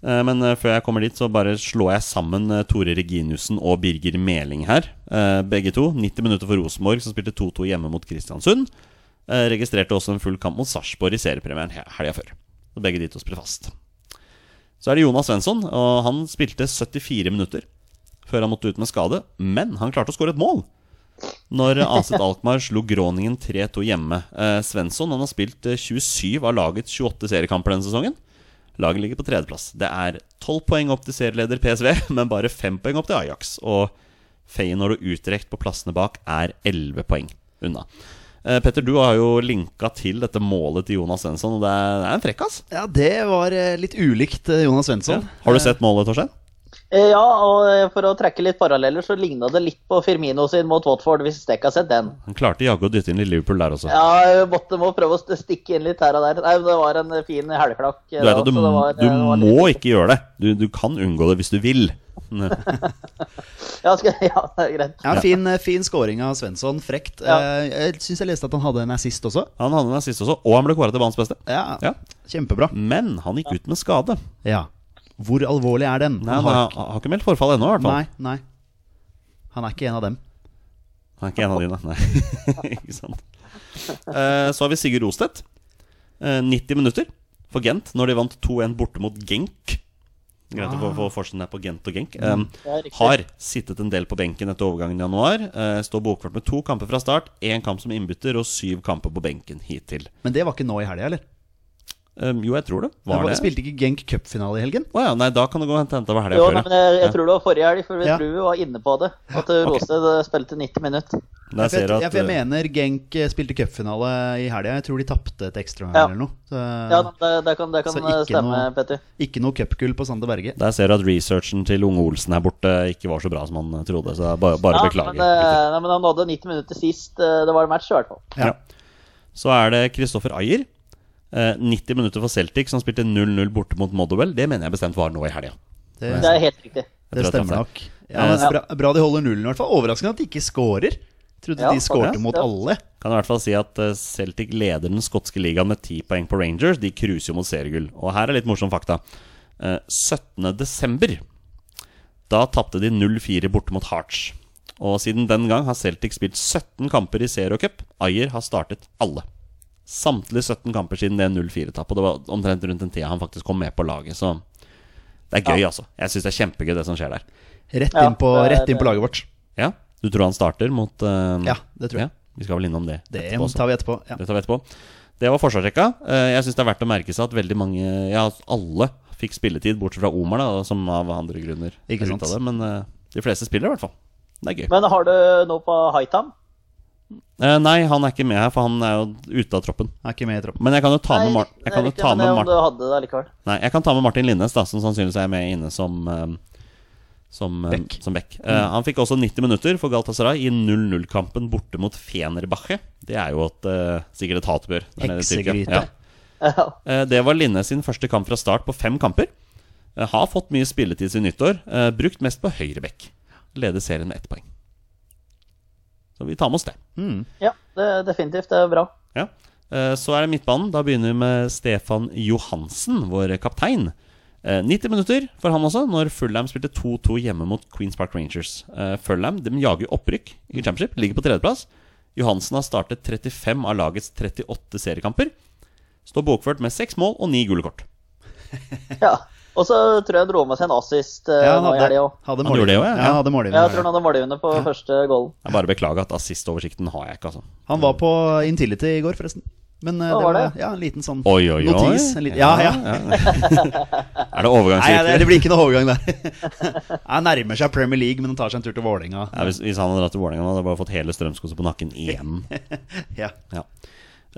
B: Eh, Men eh, før jeg kommer dit, så bare slår jeg sammen eh, Tore Reginiussen og Birger Meling her. Eh, Begge to. 90 minutter for Rosenborg, som spilte 2-2 hjemme mot Kristiansund. Eh, Registrerte også en full kamp mot Sarpsborg i seriepremieren he- helga før. Så begge de to spiller fast. Så er det Jonas Svensson, og han spilte 74 minutter før han måtte ut med skade. Men han klarte å skåre et mål! Når Aset Alkmaar slo Groningen 3-2 hjemme. Eh, Svensson han har spilt eh, 27 av lagets 28 seriekamper denne sesongen. Laget ligger på tredjeplass. Det er tolv poeng opp til serieleder PSV, men bare fem poeng opp til Ajax. Og Feyenoord og Utrecht på plassene bak er elleve poeng unna. Eh, Petter, du har jo linka til dette målet til Jonas Svensson, og det er, det er en frekkas.
C: Ja, det var eh, litt ulikt eh, Jonas Svensson.
B: Har du sett målet, Torstein?
D: Eh, Ja, og eh, for å trekke litt paralleller, så ligna det litt på Firmino sin mot Watford, hvis jeg ikke har sett den.
B: Han klarte jaggu å dytte inn i Liverpool der også.
D: Ja, jeg måtte må prøve å st- stikke inn litt her og der. Nei, men Det var en eh, fin helklakk. eh,
B: Du vet
D: da,
B: at du,
D: så det var-
B: du
D: det var litt-
B: må ikke gjøre det. Du, du kan unngå det hvis du vil.
D: Ja, skal, ja, det er greit.
C: Ja, fin, eh, fin scoring av Svensson. Frekt.
D: Ja.
C: Eh, Jeg syns jeg leste at han hadde en assist også.
B: Han hadde en assist også, og han ble kåra til banens beste.
C: Ja,
B: Ja.
C: Kjempebra.
B: Men han gikk ut med skade.
C: Ja. Hvor alvorlig er den?
B: Nei, han har, har ikke meldt forfall ennå, i hvert fall.
C: Nei, nei. Han er ikke en av dem.
B: Han er ikke en av dine, nei. ikke sant. Eh, så har vi Sigurd Rostedt. Eh, 90 minutter for Gent når de vant 2-1 borte mot Genk. Greit å få, få forskjellen der på Gent og Genk. Eh,
D: Mm. det er riktig.
B: har sittet en del på benken etter overgangen i januar. Eh, står bokført med to kamper fra start, én kamp som innbytter og syv kamper på benken hittil.
C: Men det var ikke nå i helga, eller?
B: Eh, jo, jeg tror det. Var
C: Var-
B: det?
C: Spilte ikke Genk cupfinale i helgen?
B: Å ja, nei, da kan det gå og hente hente over helga
D: Jo,
B: før.
D: nei,
B: ja.
D: men jeg, jeg tror det var forrige helg, for vi
C: Ja.
D: tror vi var inne på det. At eh, Rosted eh, spilte 90 minutter.
B: Der
C: For
B: ser
C: jeg,
B: du
C: ja,
B: at
C: for jeg
B: eh,
C: mener Genk eh, spilte cupfinale i helga. Jeg tror de tapte et ekstra
D: Ja.
C: eller noe. Så,
D: Ja, det, det kan, det kan eh,
C: Så ikke
D: stemme,
C: noe-
D: Petter.
C: Ikke noe cupgull på Sander Berge.
B: der ser du at researchen til Unge Olsen her borte ikke var så bra som han trodde, så det er bare, bare
D: Ja,
B: beklager.
D: men, eh, nei, men han nådde 90 minutter sist. eh, Det var en match, i hvert fall.
C: Ja.
B: Ja. Så er det Kristoffer Ayer. eh, 90 minutter for Celtic, som spilte 0-0 borte mot Modderwell. Det mener jeg bestemt var nå i helga.
C: Det,
D: Det er helt riktig.
C: det
B: tror jeg
C: stemmer
B: traff
C: nok. Ja, men
B: Eh,
C: bra, bra de holder nullen, i hvert fall. Overraskende at de ikke scorer. Trodde
D: Ja,
C: de skårte
D: faktisk,
C: mot
D: ja.
C: alle.
B: Kan i hvert fall si at eh, Celtic leder den skotske ligaen med 10 poeng på Rangers. De cruiser jo mot seriegull. Og her er litt morsom fakta. Eh, 17. desember Da tapte de 0-4 borte mot Hearts. Og siden den gang har Celtic spilt 17 kamper i seriecup. Ayer har startet alle. samtlige 17 kamper siden det 0-4-tapet. Og det var omtrent rundt den tida han faktisk kom med på laget, så det er gøy, altså. Jeg syns det er kjempegøy, det som skjer der.
C: Rett
D: Ja,
C: inn på,
D: det er-
C: rett inn på laget vårt.
B: Ja, Du tror han starter mot eh,
C: Ja, det tror jeg.
B: Vi skal vel innom det.
C: Det
B: etterpå også.
C: tar vi etterpå. Ja.
B: Det tar vi etterpå. Det var forsvarsrekka. Eh, Jeg syns det er verdt å merke seg at veldig mange, ja, alle fikk spilletid, bortsett fra Omar, da, som av andre grunner er
C: Ikke sant.
B: ute av det. Men eh, de fleste spiller, i hvert fall. Det er gøy.
D: Men har du noe på Haitam?
B: Eh, Nei, han er ikke med her, for han er jo ute av troppen.
C: Er ikke med i troppen.
B: Men jeg kan jo ta med, Mar
D: det
B: jeg
D: er
B: kan jo
D: riktig,
B: ta
D: men
B: med
D: det er om
B: Martin
D: du hadde det likevel.
B: Nei, jeg kan ta med Martin Linnes, da, som sannsynligvis er med inne som eh, som Beck. Som Beck. Eh,
C: Mm.
B: han fikk også 90 minutter for Galatasaray i 0-0-kampen borte mot Fenerbahçe. Det er jo et, eh, sikkert et hatbør. der nede i Tyrkia.
C: Heksegryte.
B: Ja.
D: Ja.
B: Eh, Det var Linnes sin første kamp fra start på fem kamper. Eh, Har fått mye spilletid siden nyttår. eh, Brukt mest på høyre bekk. Leder serien med ett poeng. Så vi tar med oss det.
D: ja, det, definitivt. Det er bra.
B: Ja. Eh, Så er det midtbanen. Da begynner vi med Stefan Johansen, vår kaptein. Eh, 90 minutter for han også, når Fulham spilte 2-2 hjemme mot Queens Park Rangers. Eh, Fulham de jager jo opprykk i championship, ligger på tredjeplass. Johansen har startet 35 av lagets 38 seriekamper. Står bokført med seks mål og ni gule kort.
D: Ja. Og så tror jeg han dro med seg en assist eh,
C: Ja, han
D: nå i helga
C: hadde,
D: òg.
C: hadde
B: Han gjorde det
C: målgivende.
B: også, ja.
C: Ja, han hadde målgivende.
D: Jeg tror han hadde målgivende på første goalen.
B: Jeg bare beklager at assistoversikten har jeg ikke, altså.
C: Han var på Intility i går, forresten. Men eh,
D: Hva
C: det
D: var
C: var
D: det?
C: ja, en liten sånn
B: Oi, oi, oi.
C: notis. En liten, ja, ja.
B: Er det
C: Nei, det,
B: overgangsvirkelig?
C: det blir ikke noe overgang der. Han nærmer seg Premier League, men han tar seg en tur til Vålerenga.
B: Ja, hvis, hvis han hadde dratt til Vålerenga, nå, hadde jeg bare fått hele Strømskose på nakken igjen.
C: Ja.
B: Ja.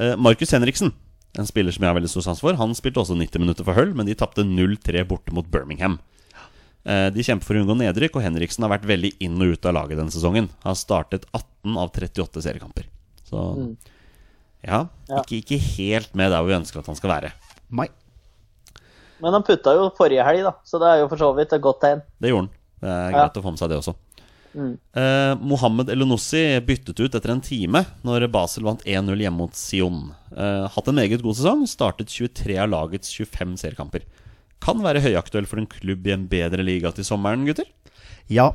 B: Eh, Markus Henriksen, en spiller som jeg har veldig stor sans for, han spilte også 90 minutter for Hull, men de tapte 0-3 borte mot Birmingham. Eh, De kjemper for å unngå nedrykk, og Henriksen har vært veldig inn og ut av laget denne sesongen. Har startet 18 av 38 seriekamper. Så ja, ikke, ikke helt med der hvor vi ønsker at han skal være.
C: Mai.
D: Men han putta jo forrige helg, da, så det er jo for så vidt et godt tegn.
B: Det gjorde han. Det er
D: Ja.
B: greit å få med seg det også. Eh, Mohammed Elunussi byttet ut etter en time når Basel vant 1-0 hjemme mot Sion. Eh, hatt en meget god sesong, startet 23 av lagets 25 seriekamper. Kan være høyaktuell for en klubb i en bedre liga til sommeren, gutter.
C: Ja.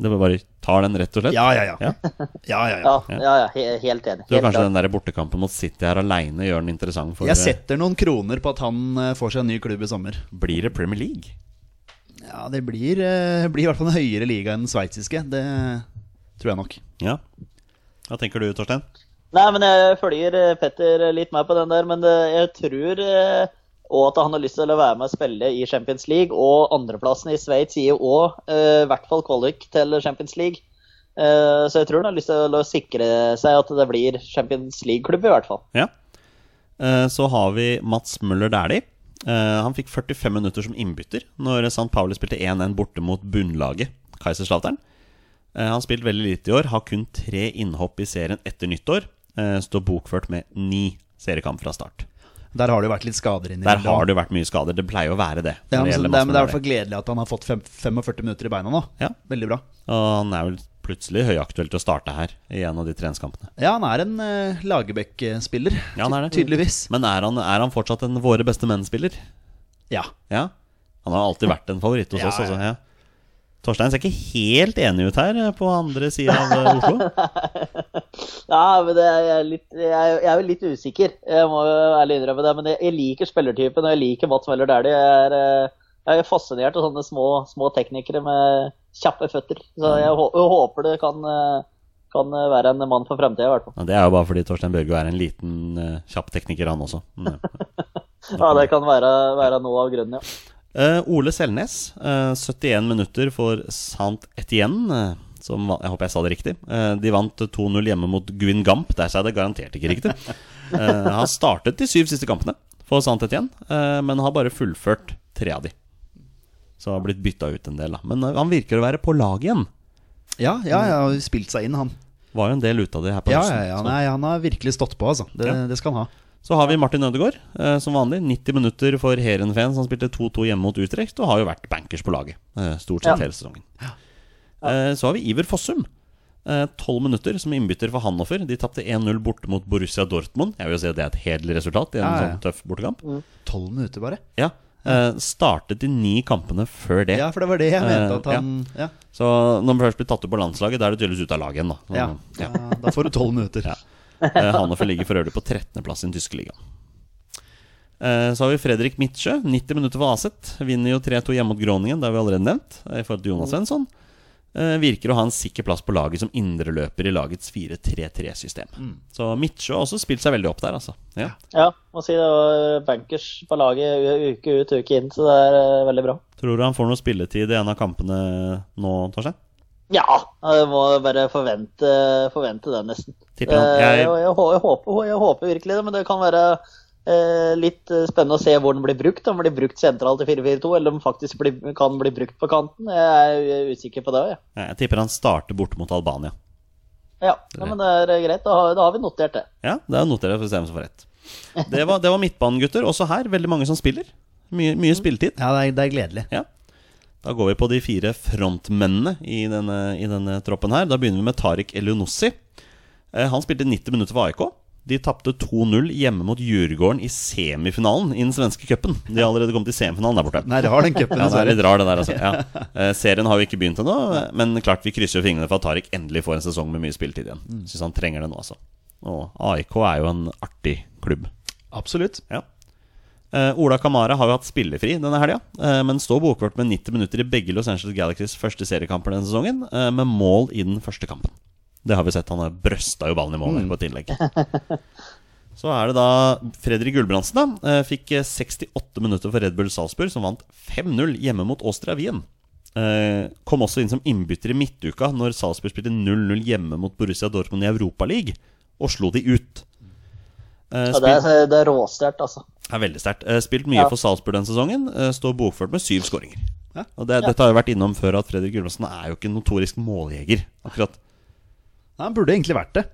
B: Det var bare tar den, rett og slett.
C: Ja, ja, ja.
B: Ja.
C: ja, ja, ja.
D: Ja, ja, ja he helt enig.
B: Så
D: Helt
B: kanskje den
D: klart.
B: der bortekampen mot City her aleine gjør den interessant for eh,
C: Jeg setter noen kroner på at han eh, får seg en ny klubb i sommer.
B: Blir det Premier League?
C: Ja, Det blir, eh, blir i hvert fall en høyere liga enn den sveitsiske. Det tror jeg nok.
B: Ja. Hva tenker du, Torstein?
D: Nei, men jeg følger eh, Petter litt med på den der, men det, jeg tror òg at han har lyst til å være med og spille i Champions League. Og andreplassen i Sveits gir jo òg i hvert fall kvalik til Champions League. Eh, Så jeg tror han har lyst til å sikre seg at det blir Champions League-klubb, i hvert fall.
B: Ja. Eh, Så har vi Mats Møller Dæhlie. Eh, Han fikk 45 minutter som innbytter når St. Pauli spilte 1-1 borte mot bunnlaget, Kaiserslautern. Eh, Han har spilt veldig lite i år, har kun tre innhopp i serien etter nyttår. eh, Står bokført med ni seriekamp fra start.
C: Der har det jo vært litt skader inni
B: Der har det jo vært mye skader. Det pleier jo å være det. når
C: Ja, men,
B: det
C: så,
B: gjelder
C: det,
B: Mats
C: er- men det er i
B: Møller
C: hvert fall gledelig at han har fått fem, 45 minutter i beina nå.
B: Dæhlie. Ja,
C: Veldig bra.
B: og han er vel plutselig høyaktuell til å starte her i en av de treningskampene.
C: Ja, han er en uh, Lagerbäck-spiller.
B: Ja, han er det.
C: Ty- Tydeligvis.
B: Men er han, er han fortsatt en våre beste menn-spiller?
C: Ja.
B: Ja. Han har alltid vært en favoritt hos
C: Ja,
B: oss.
C: ja.
B: Altså, ja. Torstein ser ikke helt enig ut her eh, på andre sida av eh, Oslo.
D: Ja, men det er jeg, litt, jeg, er- jeg er jo litt usikker, jeg må jo ærlig innrømme det. Men jeg, jeg liker spillertypen, og jeg liker Mats Møller Dæhlie. Jeg, er, eh, jeg er fascinert av sånne små, små teknikere med kjappe føtter. Så jeg, hå- jeg håper det kan, eh, kan være en mann for fremtiden, i hvert fall.
B: Ja, det er jo bare fordi Torstein Børgo er en liten, eh, kjapp tekniker, han også. Mm.
D: Ja, det kan være, være noe av grunnen, ja.
B: Eh, Ole Selnes, eh, 71 minutter for Sant Etienne. eh, som, va- jeg håper jeg sa det riktig. Eh, de vant 2-0 hjemme mot Gwyn Gamp. Der sa jeg det garantert ikke riktig. Eh, han startet de syv siste kampene for Sant Etienne, eh, men har bare fullført tre av de. Så har blitt bytta ut en del, da. Men eh, han virker å være på lag igjen.
C: Ja, ja, ja, har spilt seg inn, han.
B: Var jo en del ute av det her på
C: Ja,
B: høsten.
C: ja, ja, nei, han har virkelig stått på, altså. Det,
B: Ja.
C: det skal han ha.
B: Så har vi Martin Ødegaard, eh, som vanlig. 90 minutter for Heerenveen, som spilte 2-2 hjemme mot Utrecht, og har jo vært bankers på laget eh, stort sett
D: Ja.
B: hele sesongen. Eh, Så har vi Iver Fossum. eh, 12 minutter som innbytter for Hannoffer. De tapte 1-0 borte mot Borussia Dortmund. Jeg vil jo si at det er et hederlig resultat i en
C: Ja, ja.
B: sånn tøff bortekamp.
C: Tolv minutter, bare.
B: Ja. Eh, Startet de ni kampene før det.
C: Ja, for det var det jeg mente at
B: Eh,
C: han Ja,
B: Så når man først blir tatt ut på landslaget, da er det tydeligvis ute av laget igjen, da. Så,
C: ja.
B: ja.
C: Da- Da får du tolv minutter.
B: Ja. Eh, Hannover ligger for øvrig på 13.-plass i den tyske ligaen. Eh, Så har vi Fredrik Midtsjø, 90 minutter for Aset. Vinner jo 3-2 hjemme mot Groningen, det har vi allerede nevnt. eh, I forhold til Jonas Svensson. Eh, Virker å ha en sikker plass på laget som indreløper i lagets 4-3-3-system. Så Midtsjø har også spilt seg veldig opp der, altså. Ja.
D: Ja, må si det var bankers på laget u- uke ut uke inn, så det er eh, veldig bra.
B: Tror du han får noe spilletid i en av kampene nå, Torstein?
D: Ja, jeg må bare forvente, forvente det, nesten.
B: Tipper han.
D: Eh,
B: Jeg-
D: og jeg, hå- jeg, håper, jeg håper virkelig det, men det kan være eh, litt eh, spennende å se hvor den blir brukt. Om den blir brukt sentralt i 4-4-2, eller om den faktisk blir, kan bli brukt på kanten. Jeg er usikker på det òg, jeg.
B: Eh, Jeg tipper han starter borte mot Albania.
D: Ja, ja, men det er eh, greit. Da har, da har vi notert det.
B: Ja, det noterer jeg for å se hvem som får rett. Det var, det var midtbanen, gutter. Også her veldig mange som spiller. Mye, mye spilletid.
C: Ja, det er, det er gledelig.
B: Ja. Da går vi på de fire frontmennene i denne, i denne troppen her. Da begynner vi med Tariq Elionossi. Eh, Han spilte 90 minutter for AIK. De tapte 2-0 hjemme mot Djurgården i semifinalen i den svenske cupen. De har allerede kommet til semifinalen der borte.
C: Nei, det har den cupen,
B: Ja, det er
C: dessverre.
B: litt rar, det der, altså. Ja. Eh, serien har jo ikke begynt ennå, eh, men klart vi krysser jo fingrene for at Tariq endelig får en sesong med mye spilletid igjen. Syns han trenger det nå, altså. Og AIK er jo en artig klubb.
C: Absolutt.
B: Ja. Eh, Ola Kamara har jo hatt spillefri denne helga, eh, men står bokført med 90 minutter i begge Los Angeles Galaxys første seriekamper denne sesongen, eh, med mål i den første kampen. Det har vi sett. Han har brøsta jo ballen i mål på et innlegg.
D: Mm.
B: Så er det da Fredrik Gulbrandsen, da. eh, Fikk eh, 68 minutter for Red Bull Salzburg, som vant 5-0 hjemme mot Austria Wien. Eh, Kom også inn som innbytter i midtuka når Salzburg spilte 0-0 hjemme mot Borussia Dortmund i Europaligaen, og slo de ut. Eh,
D: Ja, det
B: spill-
D: er, det er råsterkt, altså.
B: det er veldig sterkt. Eh, Spilt mye
D: Ja.
B: for Salzburg den sesongen. eh, Står bokført med syv skåringer.
C: Ja.
B: Og det, Dette har jo vært innom før, at Fredrik Gulbrandsen er jo ikke en notorisk måljeger. Akkurat.
C: Han burde egentlig vært det.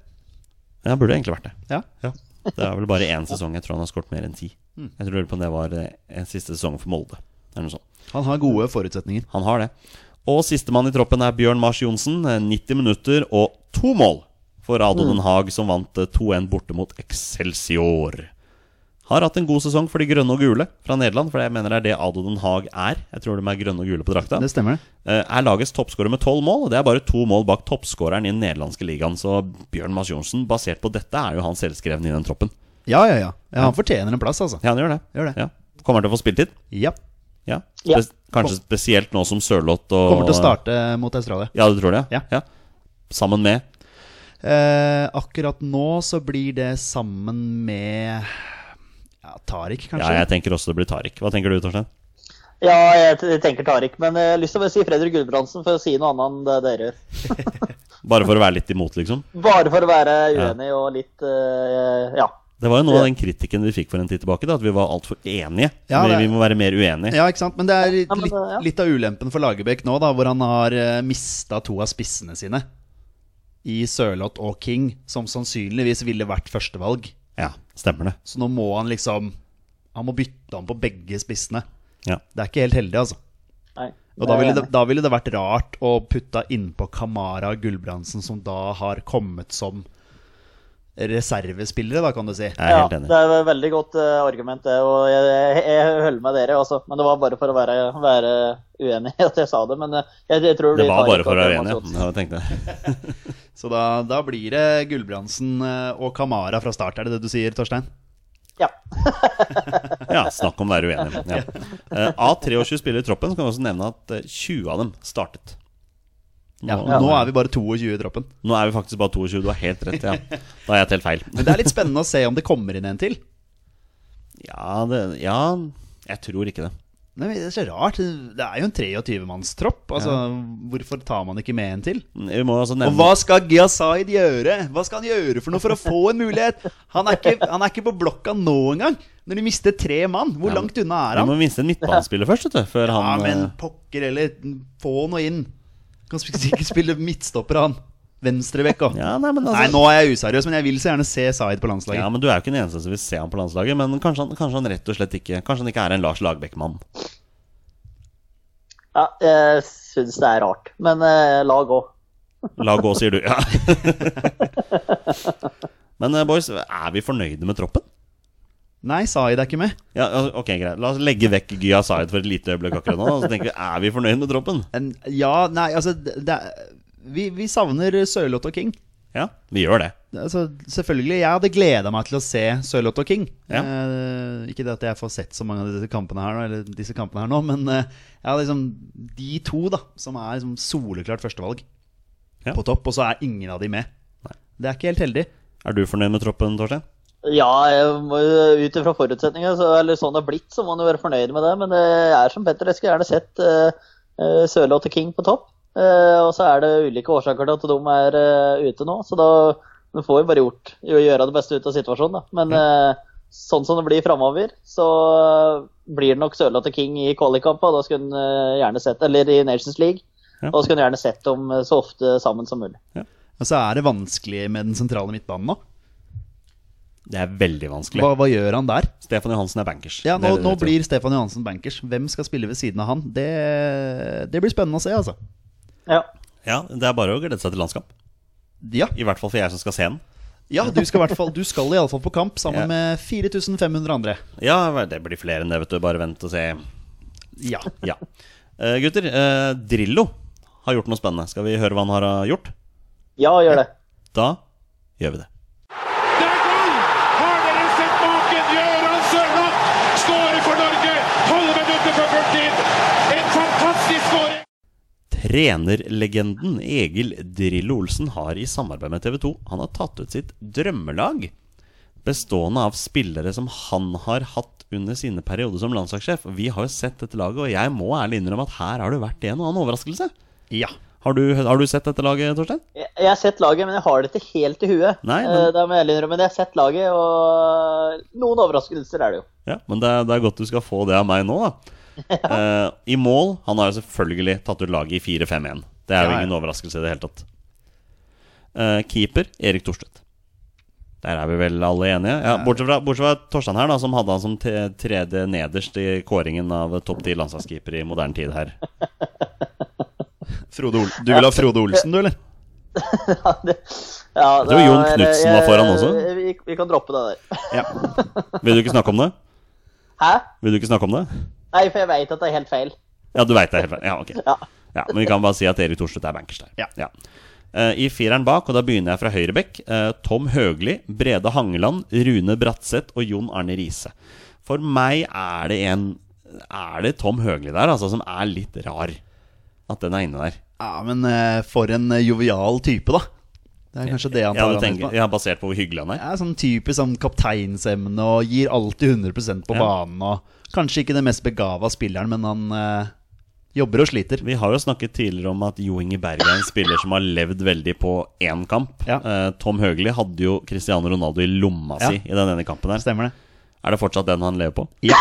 B: Men han burde egentlig vært det.
C: Ja.
B: Ja. Det er vel bare én sesong jeg tror han har skåret mer enn ti.
C: Mm.
B: Jeg tror lurer på om det var eh, en siste sesong for Molde. Eller noe sånt.
C: Han har gode forutsetninger.
B: Han har det. Og sistemann i troppen er Bjørn Mars Johnsen. eh, 90 minutter og to mål for Adon
C: Mm.
B: Den Haag, som vant eh, 2-1 borte mot Excelsior. Har hatt en god sesong for de grønne og gule fra Nederland, for jeg mener det er det Adon Den Haag er. Jeg tror de er grønne og gule på drakta.
C: Det stemmer. det.
B: Eh, Er lagets toppskårer med tolv mål, og det er bare to mål bak toppskåreren i den nederlandske ligaen. Så Bjørn Mars Johnsen, basert på dette, er jo han selvskrevne i den troppen.
C: Ja, ja, ja. ja han fortjener en plass, altså.
B: Ja, han gjør det.
C: Gjør det.
B: Ja. Kommer han til å få spilletid?
C: Ja.
B: Ja.
D: Ja.
B: Spes- Kanskje spesielt nå som Sørloth og
C: Kommer til å starte mot Australia.
B: Ja, du tror det?
C: Ja.
B: Sammen med
C: Eh, akkurat nå så blir det sammen med ja, Tariq, kanskje.
B: Ja, jeg tenker også det blir Tariq. Hva tenker du, Torstein?
D: Ja, jeg t- tenker Tariq, men jeg har lyst til å bare si Fredrik Gulbrandsen for å si noe annet enn det dere gjør.
B: Bare for å være litt imot, liksom.
D: Bare for å være uenig og litt eh, Ja.
B: Det var jo noe av den kritikken vi fikk for en tid tilbake, da, at vi var altfor enige.
C: Ja,
B: vi,
C: det-
B: vi må være mer uenige.
C: Ja, ikke sant? Men det er
D: men det-
C: litt,
D: ja.
C: litt av ulempen for Lagerbäck nå, da, hvor han har uh, mista to av spissene sine. I Sørloth og King, som sannsynligvis ville vært førstevalg.
B: Ja, stemmer det.
C: Så nå må han liksom Han må bytte om på begge spissene.
B: Ja.
C: Det er ikke helt heldig, altså.
D: Nei.
C: Og da ville, det, da ville det vært rart å putte innpå Kamara og Gulbrandsen, som da har kommet som reservespillere, da, kan du si.
B: Jeg er helt
D: ja,
B: enig.
D: Det er et veldig godt eh, argument, det. Og jeg, jeg, jeg holder med dere, altså. Men det var bare for å være, være uenig at jeg sa det. Men eh, jeg, jeg tror
B: Det
D: blir
B: var
D: Tariq
B: bare for å
D: og
B: være
D: Thomas
B: enige.
D: Johnsen.
B: Ja, jeg tenkte det.
C: Så da, da blir det Gulbrandsen eh, og Kamara fra start, er det det du sier, Torstein?
D: Ja.
B: Ja, snakk om å være uenig. Ja. Eh, Av 23 spillere i troppen så kan vi også nevne at eh, 20 av dem startet.
C: Ja,
B: Nå,
C: Nå er vi bare 22 i troppen.
B: nå er vi faktisk bare 22. Du har helt rett. ja Da har jeg telt feil.
C: Men det er litt spennende å se om det kommer inn en til.
B: Ja, det, ja jeg tror ikke det.
C: Nei, men det er så rart. Det er jo en 23-mannstropp. Altså, Hvorfor tar man ikke med en til?
B: Vi må altså
C: Og
B: nevne
C: hva skal Gyasaid gjøre? Hva skal han gjøre for noe for å få en mulighet? Han er ikke, han er ikke på blokka nå engang. Når de mister tre mann, hvor
B: Ja, men-
C: langt unna er
B: Vi
C: han?
B: må minste en midtbanespiller først, vet du. Før
C: Ja,
B: han
C: men
B: eh,
C: pokker heller. Få noe inn. Kan sp- sikkert spille midtstopper, han. Venstrebekk òg.
B: Ja, nei, men altså-
C: Nei, nå er jeg useriøs, men jeg vil så gjerne se Zaid på landslaget.
B: Ja, men Du er jo ikke den eneste som vil se ham på landslaget. Men kanskje han, kanskje han rett og slett ikke Kanskje han ikke er en Lars Lagerbäck-mann.
D: ja jeg syns det er rart. Men eh, la gå.
B: La gå, sier du. Ja. men eh, boys, er vi fornøyde med troppen?
C: Nei, Zaid er ikke med.
B: Ja, al- ok, greit. La oss legge vekk Gya Zaid for et lite øyeblikk akkurat nå. Og så tenker vi, er vi fornøyd med troppen?
C: En, ja, nei, altså det, det, er- vi, vi savner Sørloth og King.
B: Ja, vi gjør det.
C: Altså, selvfølgelig, Jeg hadde gleda meg til å se Sørloth og King.
B: Ja.
C: Eh, ikke det at jeg får sett så mange av disse kampene her nå, eller disse kampene her nå men eh, ja, liksom, de to da som er liksom, soleklart førstevalg
B: Ja.
C: på topp, og så er ingen av de med. Det er ikke helt heldig.
B: Er du fornøyd med troppen, Torstein?
D: Ja, jeg må jo- ut ifra forutsetningene, så, eller sånn det har blitt, så må man jo være fornøyd med det. Men eh, jeg er som Petter, jeg skulle gjerne sett uh, Sørloth og King på topp. Eh, og så er det ulike årsaker til at de er eh, ute nå, så da man får jo bare gjort, jo, gjøre det beste ut av situasjonen. Da. Men eh, sånn som det blir framover, så blir det nok Sørloth og King i kvalikkampen. og Da skulle en eh, gjerne sett, eller i Nations League.
B: Ja.
D: Og skulle en gjerne sett dem eh, så ofte sammen som mulig.
C: Og så er det vanskelig med den sentrale midtbanen nå.
B: Det er veldig vanskelig.
C: Hva, hva gjør han der?
B: Stefan Johansen er bankers.
C: Ja,
B: Det
C: nå,
B: er det
C: nå
B: du tror.
C: blir Stefan Johansen bankers. Hvem skal spille ved siden av han? Det, det blir spennende å se, altså.
D: Ja.
B: Ja, det er bare å glede seg til landskamp.
C: Ja,
B: I hvert fall for jeg som skal se den.
C: ja du skal iallfall fall på kamp sammen
B: Ja.
C: med 4500 andre.
B: Ja, det blir flere enn det, vet du. Bare vent og se.
C: Ja.
B: Ja. Eh, gutter, eh, Drillo har gjort noe spennende. Skal vi høre hva han har eh, gjort?
D: ja, gjør det.
B: Da gjør vi det.
A: Det er gull! Har dere sett maken? Gøran Sørloth skårer for Norge! 12 minutter før fulltid! En fantastisk skåring!
B: Trenerlegenden Egil Drillo Olsen har i samarbeid med TV 2 Han har tatt ut sitt drømmelag, bestående av spillere som han har hatt under sine perioder som landslagssjef. Vi har jo sett dette laget, og jeg må ærlig innrømme at her har det vært en og annen overraskelse.
C: ja.
B: Har du, har du sett dette laget, Torstein?
D: Jeg jeg har sett laget, men jeg har det ikke helt i huet.
B: Nei, men-
D: Eh, Det må jeg ærlig innrømme. men Jeg har sett laget, og noen overraskelser er det jo.
B: Ja, men det er, det er godt du skal få det av meg nå, da. Eh, I mål Han har jo selvfølgelig tatt ut laget i 4-5-1. Det er jo
C: Ja, ja.
B: ingen overraskelse i det hele tatt. Eh, keeper Erik Thorstvedt. Der er vi vel alle enige? Ja, bortsett, fra, bortsett fra Torstein her, da, som hadde han som te- tredje nederst i kåringen av topp ti landslagskeepere i moderne tid her.
C: Frode Ol du vil ha Frode Olsen, du, eller?
D: Ja, det, ja,
B: Jeg tror Jon Knudsen var foran også.
D: Eh, Vi, vi kan droppe det der.
C: Ja.
B: Vil du ikke snakke om det?
D: Hæ?
B: Vil du ikke snakke om det?
D: Nei, for jeg veit at det er helt feil.
B: Ja, du veit det helt feil. Ja, ok.
D: Ja.
B: Ja, men vi kan bare si at Erik Thorstvedt er bankers der.
C: Ja.
B: Eh, I fireren bak, og da begynner jeg fra høyre bekk, eh, Tom Høgli, Brede Hangeland, Rune Bratseth og Jon Arne Riise. For meg er det en Er det Tom Høgli der, altså, som er litt rar? At den er inne der.
C: ja, men eh, for en eh, jovial type, da. Det er kanskje det han
B: Ja,
C: tar
B: du
C: an
B: tenker,
C: på.
B: ja, basert på hvor hyggelig han er?
C: Ja, sånn typisk sånn kapteinsemne og gir alltid 100 på
B: Ja.
C: banen. Og kanskje ikke den mest begava spilleren, men han eh, jobber og sliter.
B: Vi har jo snakket tidligere om at Jo Inge Berge er en spiller som har levd veldig på én kamp.
C: Ja.
B: Eh, Tom Høgli hadde jo Cristiano Ronaldo i lomma si i den ene kampen her.
C: Stemmer det?
B: Er det fortsatt den han lever på?
C: Ja.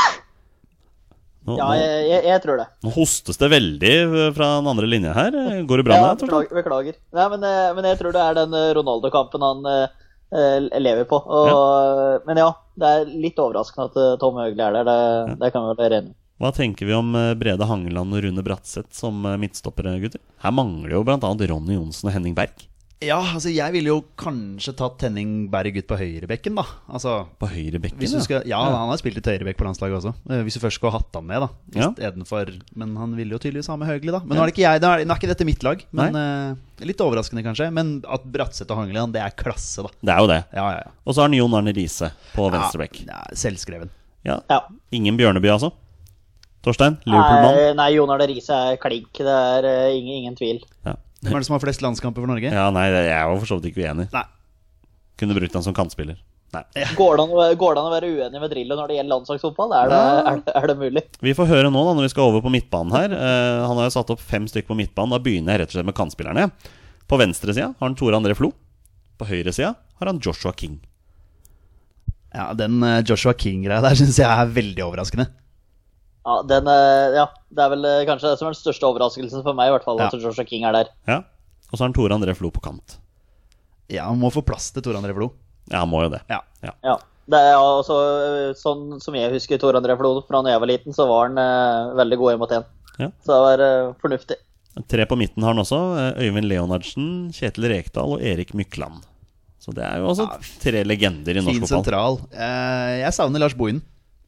B: Nå,
D: Ja,
B: nå-
D: jeg, jeg, jeg tror det.
B: Nå hostes det veldig eh, fra den andre linja her. Eh, Går det bra
D: Ja,
B: med deg? Torstein?
D: beklager. beklager. Nei, men, eh, men jeg tror det er den eh, Ronaldo-kampen han eh, eh, lever på. Og, Men ja, det er litt overraskende at eh, Tom Høgli er der. Det, det kan vi vel være enig i.
B: Hva tenker vi om eh, Brede Hangeland og Rune Bratseth som eh, midtstoppere, gutter? Her mangler jo bl.a. Ronny Johnsen og Henning Berg.
C: Ja, altså jeg ville jo kanskje tatt Henning Berg ut på høyrebekken, da. Altså,
B: På høyre bekken,
C: hvis du skal, ja, han har spilt litt høyrebekk på landslaget også. Eh, Hvis du først skulle hatt han med, da.
B: Ja.
C: Istedenfor Men han ville jo tydeligvis ha med Høgli, da. Men nå er det ikke jeg, nå er, nå er ikke dette mitt lag. Men eh, Litt overraskende, kanskje. Men at Bratseth og Hangeland, det er klasse, da.
B: Det er jo det.
C: Ja, ja, ja.
B: Og så har han Jon Arne Riise på venstre bekk.
C: Ja, selvskreven.
B: Ja.
D: Ja.
B: Ingen Bjørneby, altså? Torstein? Liverpool-mann?
D: Nei, Eh, nei, Jon Arne Riise er klink. Det er eh, ingen, ingen tvil.
B: Ja.
C: Hvem er det som har flest landskamper for Norge?
B: ja, nei, jeg er jo for så vidt ikke uenig.
C: Nei.
B: Kunne brukt han som kantspiller. Nei.
D: Går det, an, å- går det an å være uenig med Drillo når det gjelder landslagsfotball? Er det, er, det- er det mulig?
B: Vi får høre nå da, når vi skal over på midtbanen her. Eh, han har jo satt opp fem stykker på midtbanen. Da begynner jeg rett og slett med kantspillerne. På venstre sida har han Tore André Flo. På høyre sida har han Joshua King.
C: Ja, Den eh, Joshua King-greia der syns jeg er veldig overraskende.
D: Ja, den, eh, ja, det er vel eh, kanskje det som er den største overraskelsen for meg, i hvert fall,
C: Ja.
D: at Joshua King er der.
B: Ja. Og så har han Tore André Flo på kant.
C: Ja, Han må få plass til Tor André Flo.
B: Ja, han må jo det.
C: Ja.
D: Ja. Det er også, eh, sånn som jeg husker Tor André Flo fra da jeg var liten, så var han eh, veldig god imot én.
B: Ja.
D: Så det var eh, fornuftig.
B: Tre på midten har han også. eh, Øyvind Leonardsen, Kjetil Rekdal og Erik Mykland. Så det er jo også tre legender i
C: Fin
B: norsk fotball.
C: sentral. Eh, jeg savner Lars Bohinen.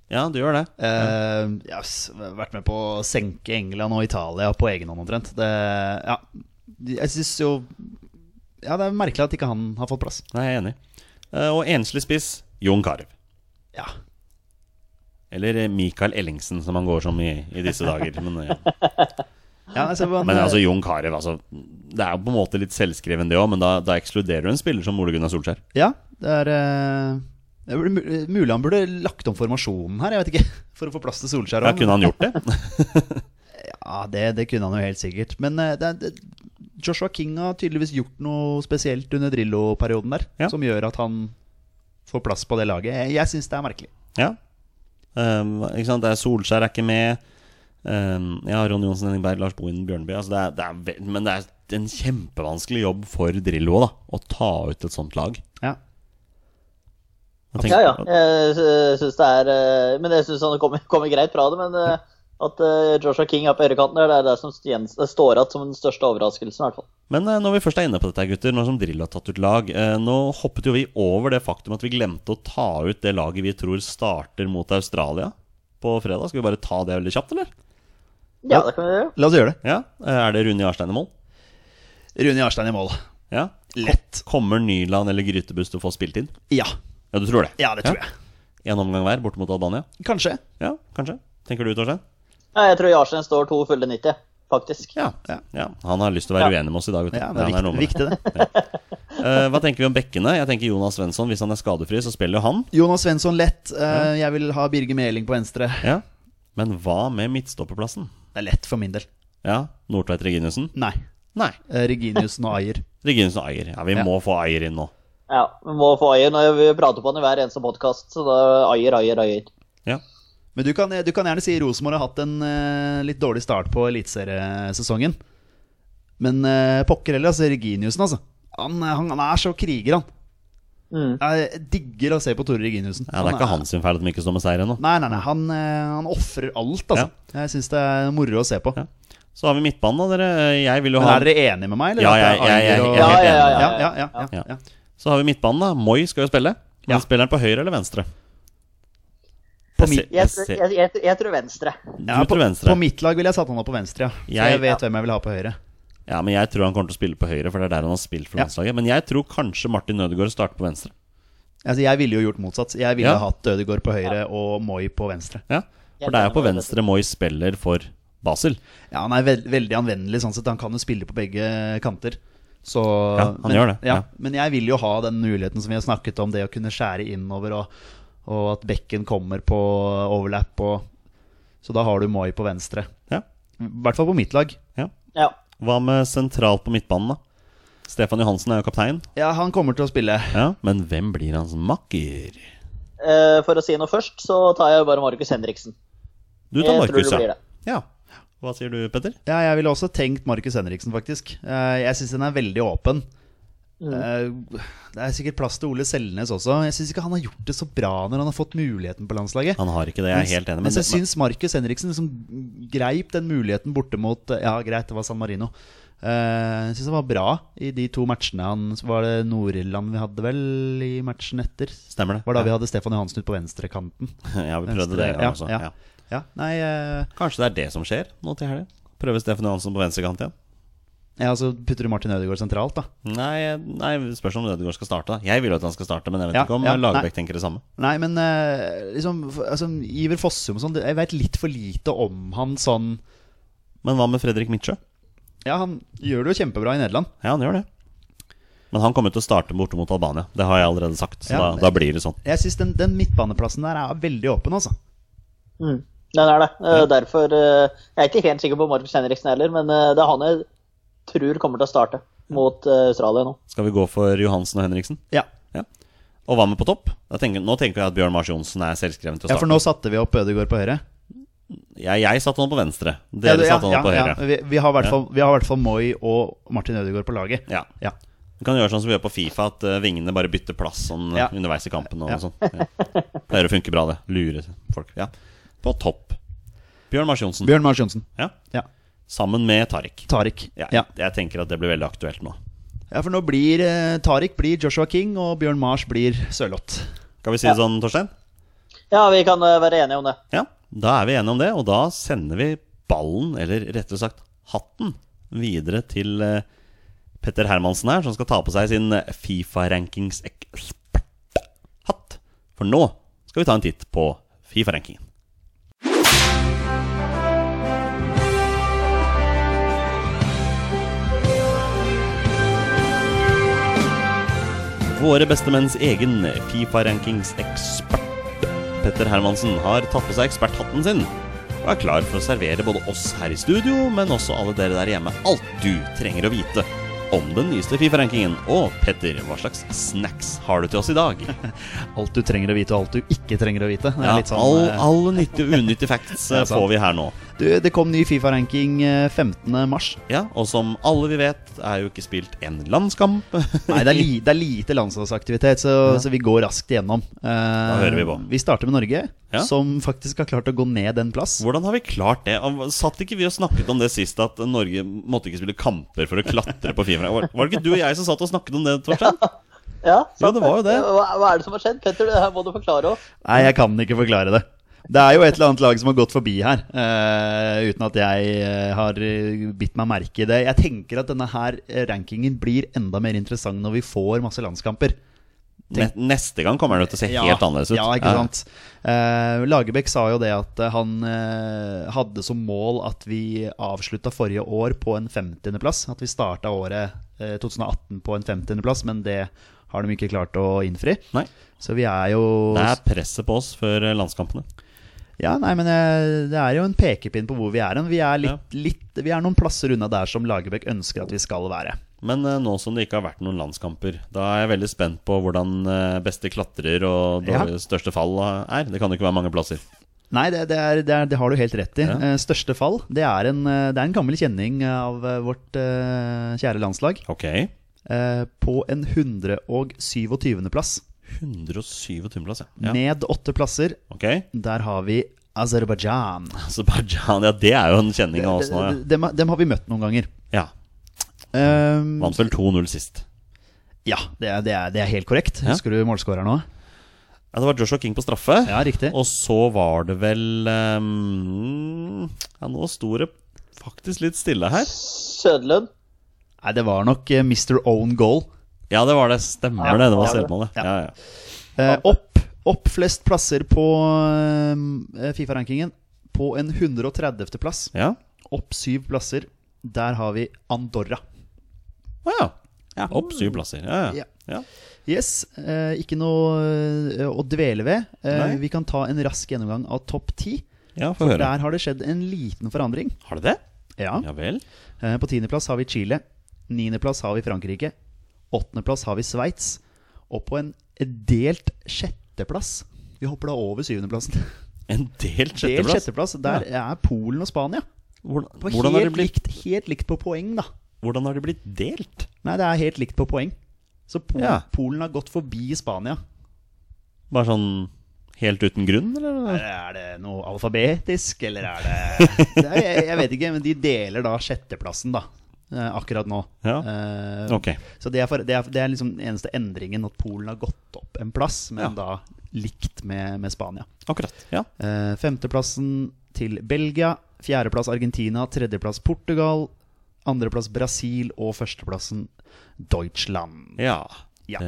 B: Ja, du gjør det.
C: Eh, ja, s- vært med på å senke England og Italia på egen hånd omtrent. Det, ja, jeg syns jo ja, det er merkelig at ikke han har fått plass.
B: Nei, jeg er enig. Eh, Og enslig spiss Jon Carew.
C: Ja.
B: Eller eh, Mikael Ellingsen, som han går som i, i disse dager. Men, eh,
C: ja altså, han,
B: men altså, Jon Carew altså, Det er jo på en måte litt selvskreven, det òg, men da, da ekskluderer du en spiller som Ole Gunnar Solskjær.
C: Ja, det er eh, det er mu- Mulig han burde lagt om formasjonen her, jeg vet ikke. For å få plass til Solskjær.
B: Ja,
C: også,
B: kunne
C: men-
B: han gjort det?
C: Ja, det, det kunne han jo helt sikkert. Men eh, det, er- det, Joshua King har tydeligvis gjort noe spesielt under Drillo-perioden der.
B: Ja.
C: Som gjør at han får plass på det laget. Jeg, jeg syns det er merkelig.
B: Ja. Um, ikke sant? Det er Solskjær er ikke med. Um, ja, Ron Johnsen Henningberg, Lars Bohin Bjørneby. Altså det er, det er vel, men det er en kjempevanskelig jobb for Drillo da, å ta ut et sånt lag.
C: Ja.
B: Jeg tenker-
D: Ja, ja. Jeg sy- syns det er eh, Men jeg syns han kommer, kommer greit fra det. Men eh, at eh, Joshua King er på høyrekanten, der, det er det som stjens- det står igjen som den største overraskelsen, i hvert fall.
B: Men eh, når vi først er inne på dette, her, gutter, nå som Drillo har tatt ut lag eh, Nå hoppet jo vi over det faktum at vi glemte å ta ut det laget vi tror starter mot Australia på fredag. Skal vi bare ta det veldig kjapt, eller?
D: Ja, det kan vi gjøre.
C: La oss gjøre det.
B: Ja, eh, Er det Rune Jarstein i mål?
C: Rune Jarstein i mål.
B: Ja.
C: Lett.
B: Kommer Nyland eller Grytebust til å få spilt inn?
C: Ja.
B: Ja, du tror det?
C: Ja, det tror jeg.
B: En omgang hver borte mot Albania?
C: Kanskje.
B: Ja, kanskje. Tenker du, Torstein?
D: Ja, jeg tror Jarstein står to fulle 90, faktisk.
B: Ja.
C: Ja.
B: ja. Han har lyst til å være
D: Ja.
B: uenig med oss i dag. vet du.
C: Ja, det er
B: han
C: viktig,
B: noe med det.
C: viktig, det.
B: Eh, hva tenker vi om bekkene? Jeg tenker Jonas Svensson. Hvis han er skadefri, så spiller jo han.
C: Jonas Svensson lett. Eh, Jeg vil ha Birger Meling på venstre.
B: Ja. Men hva med midtstopperplassen?
C: Det er lett for min del.
B: Ja, Nordtveit Reginiussen?
C: Nei.
B: Nei.
C: Eh, Reginiussen og Ayer.
B: Reginiussen og Ayer. Ja, vi
C: Ja.
B: må få Ayer inn nå.
D: Ja, Vi må få Ayer. Når vi prater på han i hver eneste podkast, så da Ayer, Ayer, Ayer.
B: Ja.
C: Men du kan, du kan gjerne si Rosenborg har hatt en eh, litt dårlig start på eliteseriesesongen. Men eh, pokker heller, altså. Reginiussen, altså. Han, han, han er så kriger, han.
D: Mm.
C: Jeg digger å se på Tore Reginiussen.
B: ja, Det er ikke hans sin feil at de ikke står med seier ennå.
C: Nei, nei, nei. Han, eh, han ofrer alt, altså. Jeg syns det er moro å se på.
B: Ja. Så har vi midtbanen, da, dere. Jeg vil jo
C: Men
B: ha
C: er dere enige med meg, eller?
B: Ja,
C: At det er
B: jeg- jeg- jeg-
C: Anger og-
B: jeg er helt
D: Ja,
C: ja,
D: ja,
B: enig.
C: ja, ja, ja,
B: Ja.
C: ja.
B: Så har vi midtbanen, da. Moi skal jo spille. Men
C: Ja.
B: spiller han på høyre eller venstre?
C: På
B: Jeg
C: mitt-
B: ser-
D: Jeg,
B: jeg
D: tror-
B: ser-
D: jeg, jeg, tror- jeg tror venstre.
B: Du
C: Ja, på,
B: tror venstre.
C: på mitt lag ville jeg satt han opp på venstre, ja. For
B: Jeg-
C: jeg, vet hvem jeg vil ha på høyre.
B: Ja, men jeg tror han kommer til å spille på høyre, for det er der han har spilt for
C: Ja.
B: landslaget. Men jeg tror kanskje Martin Nødegaard starter på venstre.
C: Altså, jeg ville jo gjort motsatt. Jeg ville
B: Ja.
C: hatt Ødegaard på høyre og Moi på venstre.
B: Ja,
D: Jeg
B: For det er
D: tror
B: jo på
D: han er
B: venstre Moi spiller for Basel.
C: Ja, han er veld veldig anvendelig sånn sett. Han kan jo spille på begge kanter. Så,
B: Ja, han
C: men,
B: gjør det,
C: Ja,
B: ja.
C: Men jeg vil jo ha den muligheten som vi har snakket om, det å kunne skjære innover, og, og at bekken kommer på overlap. Og, så da har du Moi på venstre.
B: Ja,
C: I hvert fall på mitt lag.
B: ja.
D: Ja.
B: Hva med sentralt på midtbanen, da? Stefan Johansen er jo kaptein,
C: Ja, han kommer til å spille.
B: ja. men hvem blir hans makker?
D: Eh, For å si noe først, så tar jeg bare Markus Henriksen.
B: Du tar
D: Jeg tror
B: Markus,
D: det blir
B: ja.
D: det.
B: ja. Hva sier du, Petter?
C: Ja, jeg ville også tenkt Markus Henriksen, faktisk. Eh, Jeg syns den er veldig åpen. Eh, Det er sikkert plass til Ole Selnes også. Jeg syns ikke han har gjort det så bra når han har fått muligheten på landslaget.
B: Han har ikke det, jeg er helt enig.
C: Men
B: Men,
C: jeg syns Markus Henriksen liksom greip den muligheten borte mot Ja, greit, det var San Marino. Eh, Jeg syns han var bra i de to matchene han så Var det Nord-Irland vi hadde, vel, i matchen etter?
B: Stemmer det.
C: Var da vi
B: ja.
C: hadde Stefan Johansen ut på venstrekanten.
B: ja, vi prøvde det, ja,
C: ja,
B: også.
C: ja,
B: Ja.
C: ja. Nei, eh,
B: Kanskje det er det som skjer nå til helga? Prøve Stefan Johansen på venstrekant igjen?
C: ja, så putter du Martin Ødegaard sentralt, da.
B: Nei, nei, spørs om Ødegaard skal starte. da Jeg vil jo at han skal starte, men jeg vet
C: Ja,
B: ikke om
C: ja,
B: Lagerbäck
C: nei.
B: tenker det samme.
C: Nei, men eh, liksom f- altså, Iver Fossum og sånn, det- jeg veit litt for lite om han sånn
B: Men hva med Fredrik Midtsjø?
C: Ja, han gjør det jo kjempebra i Nederland.
B: Ja, han gjør det. Men han kommer til å starte borte mot Albania. Det har jeg allerede sagt. Så
C: Ja.
B: da, da blir det sånn.
C: Jeg syns den, den midtbaneplassen der er veldig åpen, altså.
D: Mm. Den er det. Eh, Derfor eh, Jeg er ikke helt sikker på Markus Henriksen heller, men eh, det er han jeg tror kommer til å starte mot eh, Australia nå.
B: Skal vi gå for Johansen og Henriksen?
C: Ja.
B: Ja. Og hva med på topp? Da tenker, nå tenker jeg at Bjørn Mars Johnsen er selvskreven til å
C: ja, for
B: starte.
C: nå satte vi opp Ødegaard på høyre.
B: jeg, jeg satte han på venstre.
C: Ja,
B: Dere
C: du- ja,
B: satte han på
C: ja,
B: høyre.
C: Ja. Vi, vi har i hvert fall- vi har i hvert fall Moi og Martin Ødegaard på laget.
B: Ja.
C: Ja.
B: Du kan gjøre sånn som vi gjør på Fifa, at eh, vingene bare bytter plass sånn, eh,
C: Ja.
B: underveis i kampen. og
C: Ja.
B: sånn ja. Pleier å funke bra, det. Lure folk. Ja. På topp. Bjørn Mars Johnsen.
C: Bjørn Mars Johnsen.
B: Ja.
C: Ja.
B: Sammen med Tariq.
C: Tariq.
B: Ja,
C: Ja.
B: Jeg tenker at det blir veldig aktuelt nå.
C: ja, for nå blir eh, Tariq blir Joshua King, og Bjørn Mars blir Sørloth.
B: Skal vi si det sånn, Torstein?
D: Ja, vi kan eh, være enige om det.
B: Ja, da er vi enige om det, og da sender vi ballen, eller rettere sagt hatten, videre til eh, Petter Hermansen her, som skal ta på seg sin eh, Fifa-rankings-ekspert-hatt. For nå skal vi ta en titt på Fifa-rankingen. Våre bestemenns egen Fifa-rankings-ekspert Petter Hermansen har tatt på seg eksperthatten sin og er klar for å servere både oss her i studio, men også alle dere der hjemme, alt du trenger å vite om den nyeste Fifa-rankingen. Og Petter, hva slags snacks har du til oss i dag?
C: Alt du trenger å vite, og alt du ikke trenger å vite. Det, er
B: Ja,
C: litt sånn,
B: all,
C: eh,
B: all nyttige og unyttige facts eh,
C: Det er sant.
B: får vi her nå.
C: du, det kom ny Fifa-ranking eh, 15. mars.
B: Ja, Og som alle vi vet, er jo ikke spilt en landskamp.
C: Nei, det er, li, det er lite landslagsaktivitet, så, så vi går raskt igjennom. da
B: hører vi på.
C: Vi starter med Norge,
B: Ja.
C: som faktisk har klart å gå ned en plass.
B: Hvordan har vi klart det? Av- Satt ikke vi og snakket om det sist, at Norge måtte ikke spille kamper for å klatre på Fifa? Var, var det ikke du og jeg som satt og snakket om det, Torstein?
D: Ja, Eh,
B: Jo, det var jo det.
D: Hva, hva er det som har skjedd? Petter, det her må du forklare oss.
C: Nei, jeg kan ikke forklare det. Det er jo et eller annet lag som har gått forbi her, eh, uten at jeg eh, har eh, bitt meg merke i det. Jeg tenker at denne her eh, rankingen blir enda mer interessant når vi får masse landskamper.
B: Ne neste gang kommer det til å se helt annerledes ut.
C: Ja, ikke sant. Eh, Lagerbäck sa jo det at eh, han eh, hadde som mål at vi avslutta forrige år på en 50.-plass. At vi starta året eh, 2018 på en 50.-plass, men det har de ikke klart å innfri.
B: Nei,
C: Så vi er jo
B: det er presset på oss før eh, landskampene.
C: Ja, nei, men eh, det er jo en pekepinn på hvor vi er hen. Vi, er litt, litt, vi er noen plasser unna der som Lagerbäck ønsker at vi skal være.
B: Men eh, nå som det ikke har vært noen landskamper, da er jeg veldig spent på hvordan eh, beste klatrer og
C: Ja.
B: dårlig- største fall eh, er. Det kan jo ikke være mange plasser.
C: Nei, det, det, er, det, er, det har du helt rett i.
B: Ja.
C: Eh, Største fall, det er, en, eh, det er en gammel kjenning av eh, vårt eh, kjære landslag.
B: Ok.
C: eh, På en 127. plass.
B: 127. plass, ja. ja.
C: Ned åtte plasser.
B: Ok.
C: Der har vi Aserbajdsjan.
B: Aserbajdsjan, ja, det er jo en kjenning av oss nå, ja.
C: Dem, dem- dem har vi møtt noen ganger.
B: ja.
C: Um,
B: Vant vel 2-0 sist.
C: ja, det er, det, er, det er helt korrekt.
B: Ja.
C: Husker du målskårer nå?
B: Ja, det var Joshua King på straffe.
C: Ja, riktig.
B: Og så var det vel ehm, Ja, nå sto det faktisk litt stille her.
D: Sødlund.
C: Nei, det var nok eh, Mr. Own Goal.
B: Ja, det var det. Stemmer
D: Ja,
B: det. Det var
D: ja, det-
B: selvmålet.
C: ja.
B: Ja, ja.
C: Eh, opp, opp flest plasser på eh, Fifa-rankingen. På en 130. plass.
B: ja.
C: Opp syv plasser. Der har vi Andorra.
B: Å ja. Opp syv plasser. Ja, ja. ja.
C: Yes, eh, ikke noe eh, å dvele ved. Eh,
B: Nei.
C: vi kan ta en rask gjennomgang av topp ti.
B: ja få
C: For
B: høre.
C: der har det skjedd en liten forandring.
B: Har det det?
C: Ja.
B: Ja vel.
C: Eh, på tiendeplass har vi Chile. Niendeplass har vi Frankrike. Åttendeplass har vi Sveits. Og på en delt sjetteplass Vi hopper da over syvendeplassen.
B: En delt
C: Delt
B: sjetteplass.
C: sjetteplass, der er Polen og Spania.
B: Hvordan,
C: På
B: hvordan, har
C: helt,
B: det blitt,
C: likt, helt likt på poeng, da.
B: hvordan har det blitt delt?
C: Nei, det er helt likt på poeng. Så Polen,
B: Ja.
C: Polen har gått forbi Spania.
B: Bare sånn helt uten grunn, eller?
C: Er det noe alfabetisk, eller er det, det er, jeg, jeg vet ikke, men de deler da sjetteplassen, da. eh, Akkurat nå.
B: Ja.
C: Eh,
B: Ok.
C: Så det er, for, det, er, det er liksom den eneste endringen, at Polen har gått opp en plass, men
B: Ja.
C: da likt med, med Spania.
B: Akkurat. Ja.
C: Eh, femteplassen til Belgia. Fjerdeplass Argentina. Tredjeplass Portugal. Andreplass Brasil. Og førsteplassen Deutschland.
B: ja.
C: Ja.
B: Eh,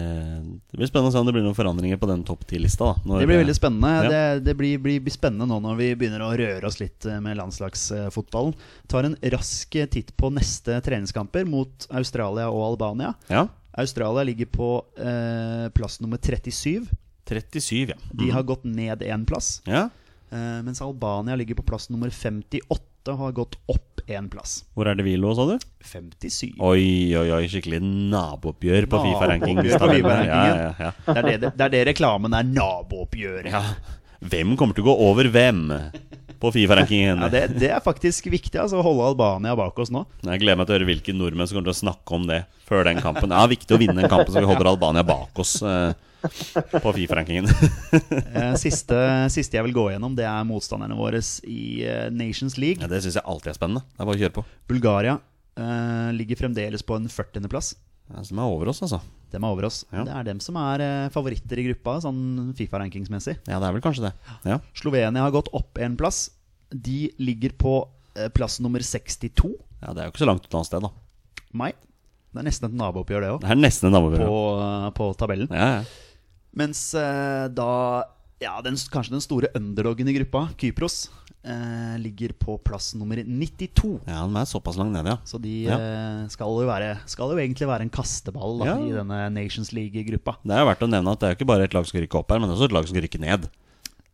B: Det blir spennende å se om det blir noen forandringer på den topp ti-lista. da når-
C: Det blir veldig spennende.
B: Ja.
C: Det, det blir, blir, blir spennende nå når vi begynner å røre oss litt eh, med landslagsfotballen. Tar en rask eh, titt på neste treningskamper mot Australia og Albania.
B: eh, Ja.
C: Australia ligger på eh, plass nummer 37.
B: 37, ja.
C: De har gått ned én plass.
B: ja.
C: Eh, mens Albania ligger på plass nummer 58 og har gått opp én plass.
B: Hvor er det vi lå, sa du?
C: 57.
B: Oi, oi, oi, skikkelig nabooppgjør på Fifa-ranking.
C: Nabooppgjør på FIFA-rankingen.
B: Ja, ja, ja.
C: Det er det, det, det er det reklamen er nabooppgjøret.
B: ja. Hvem kommer til å gå over hvem på Fifa-rankingen?
C: Ja, det, det er faktisk viktig altså, å holde Albania bak oss nå.
B: Jeg gleder meg til å høre hvilke nordmenn som kommer til å snakke om det før den kampen. Ja, viktig å vinne den kampen, så vi holder Albania bak oss eh, på Fifa-rankingen.
C: Eh, Siste, siste jeg vil gå gjennom, det er motstanderne våre i eh, Nations League.
B: Ja, det syns jeg alltid er spennende. Det er bare å kjøre på.
C: Bulgaria eh, ligger fremdeles på en 40.-plass.
B: Ja, som er over oss, altså.
C: Dem er over oss.
B: Ja.
C: Det er dem som er eh, favoritter i gruppa, sånn Fifa-rankingsmessig.
B: Ja, det er vel kanskje det. Ja.
C: Slovenia har gått opp en plass. De ligger på eh, plass nummer 62.
B: ja, Det er jo ikke så langt et annet sted, da.
C: Mai. Det er nesten et nabooppgjør, det òg,
B: Det er nesten en
C: på,
B: dameprøve.
C: på tabellen.
B: Ja, ja.
C: Mens eh, da ja, den, kanskje den store underdogen i gruppa, Kypros, eh, ligger på plass nummer 92.
B: ja, den er såpass langt nede, ja.
C: Så de
B: Ja.
C: eh, skal, jo være, skal jo egentlig være en kasteball da,
B: Ja.
C: i denne Nations League-gruppa.
B: Det er jo verdt å nevne at det er jo ikke bare et lag som skal rykke opp her, men det er også et lag som skal rykke ned.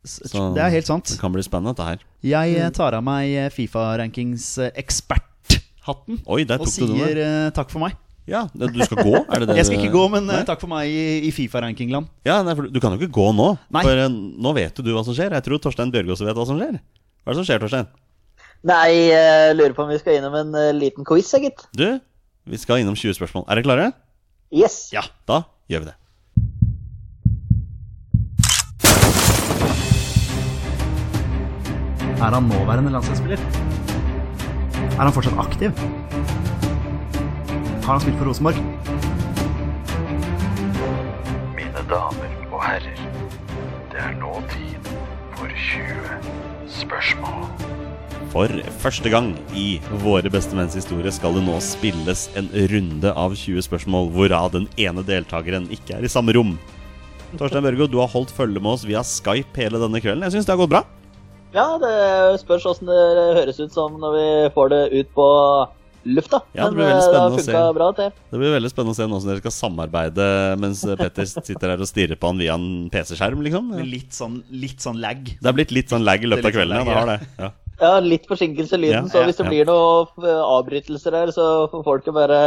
C: S-
B: Så Mm.
C: Det er helt sant.
B: Det kan bli spennende, dette her.
C: Jeg eh, tar av meg eh, Fifa-rankings-eksperthatten
B: Oi, der
C: og
B: tok du den
C: sier
B: der.
C: eh, takk for meg.
B: Ja, det- du skal gå? Er det det
C: Jeg skal
B: du-
C: ikke gå, men eh,
B: Nei?
C: takk for meg i, i Fifa-rankingland.
B: Ja, nei, for du- Du kan jo ikke gå nå.
C: Nei.
B: For eh, nå vet jo du hva som skjer. Jeg tror Torstein Bjørgaas vet hva som skjer. Hva er det som skjer, Torstein?
D: Nei, eh, lurer på om vi skal innom en eh, liten quiz, jeg, gitt.
B: Du, vi skal innom 20 spørsmål. Er dere klare?
D: Yes.
C: Ja.
B: Da gjør vi det.
C: Er han nåværende landslagsspiller? Er han fortsatt aktiv? Har han spilt for Rosenborg?
E: Mine damer og herrer, det er nå tid for 20 spørsmål.
B: For første gang i Våre beste menns historie skal det nå spilles en runde av 20 spørsmål, hvorav den ene deltakeren ikke er i samme rom. Torstein Børgo, du har holdt følge med oss via Skype hele denne kvelden. Jeg syns det har gått bra.
D: Ja, det spørs åssen det høres ut som når vi får det ut på lufta.
B: Ja, det blir
D: Men
B: veldig
D: eh, det
B: spennende å
D: har
B: se.
D: funka bra, det.
B: Det blir veldig spennende å se nå som dere skal samarbeide mens Petter sitter her og stirrer på han via en PC-skjerm, liksom.
C: Med litt sånn, litt sånn lag.
B: Det er blitt litt sånn lag i løpet av
C: Det er
B: kvelden.
C: litt
B: Ja,
C: sånn
B: det har det.
C: lag,
B: Ja.
D: Ja, litt forsinkelse i lyden,
B: Ja,
D: så
C: ja,
D: hvis det
B: ja.
D: blir noen eh, avbrytelser her, så får folk jo bare,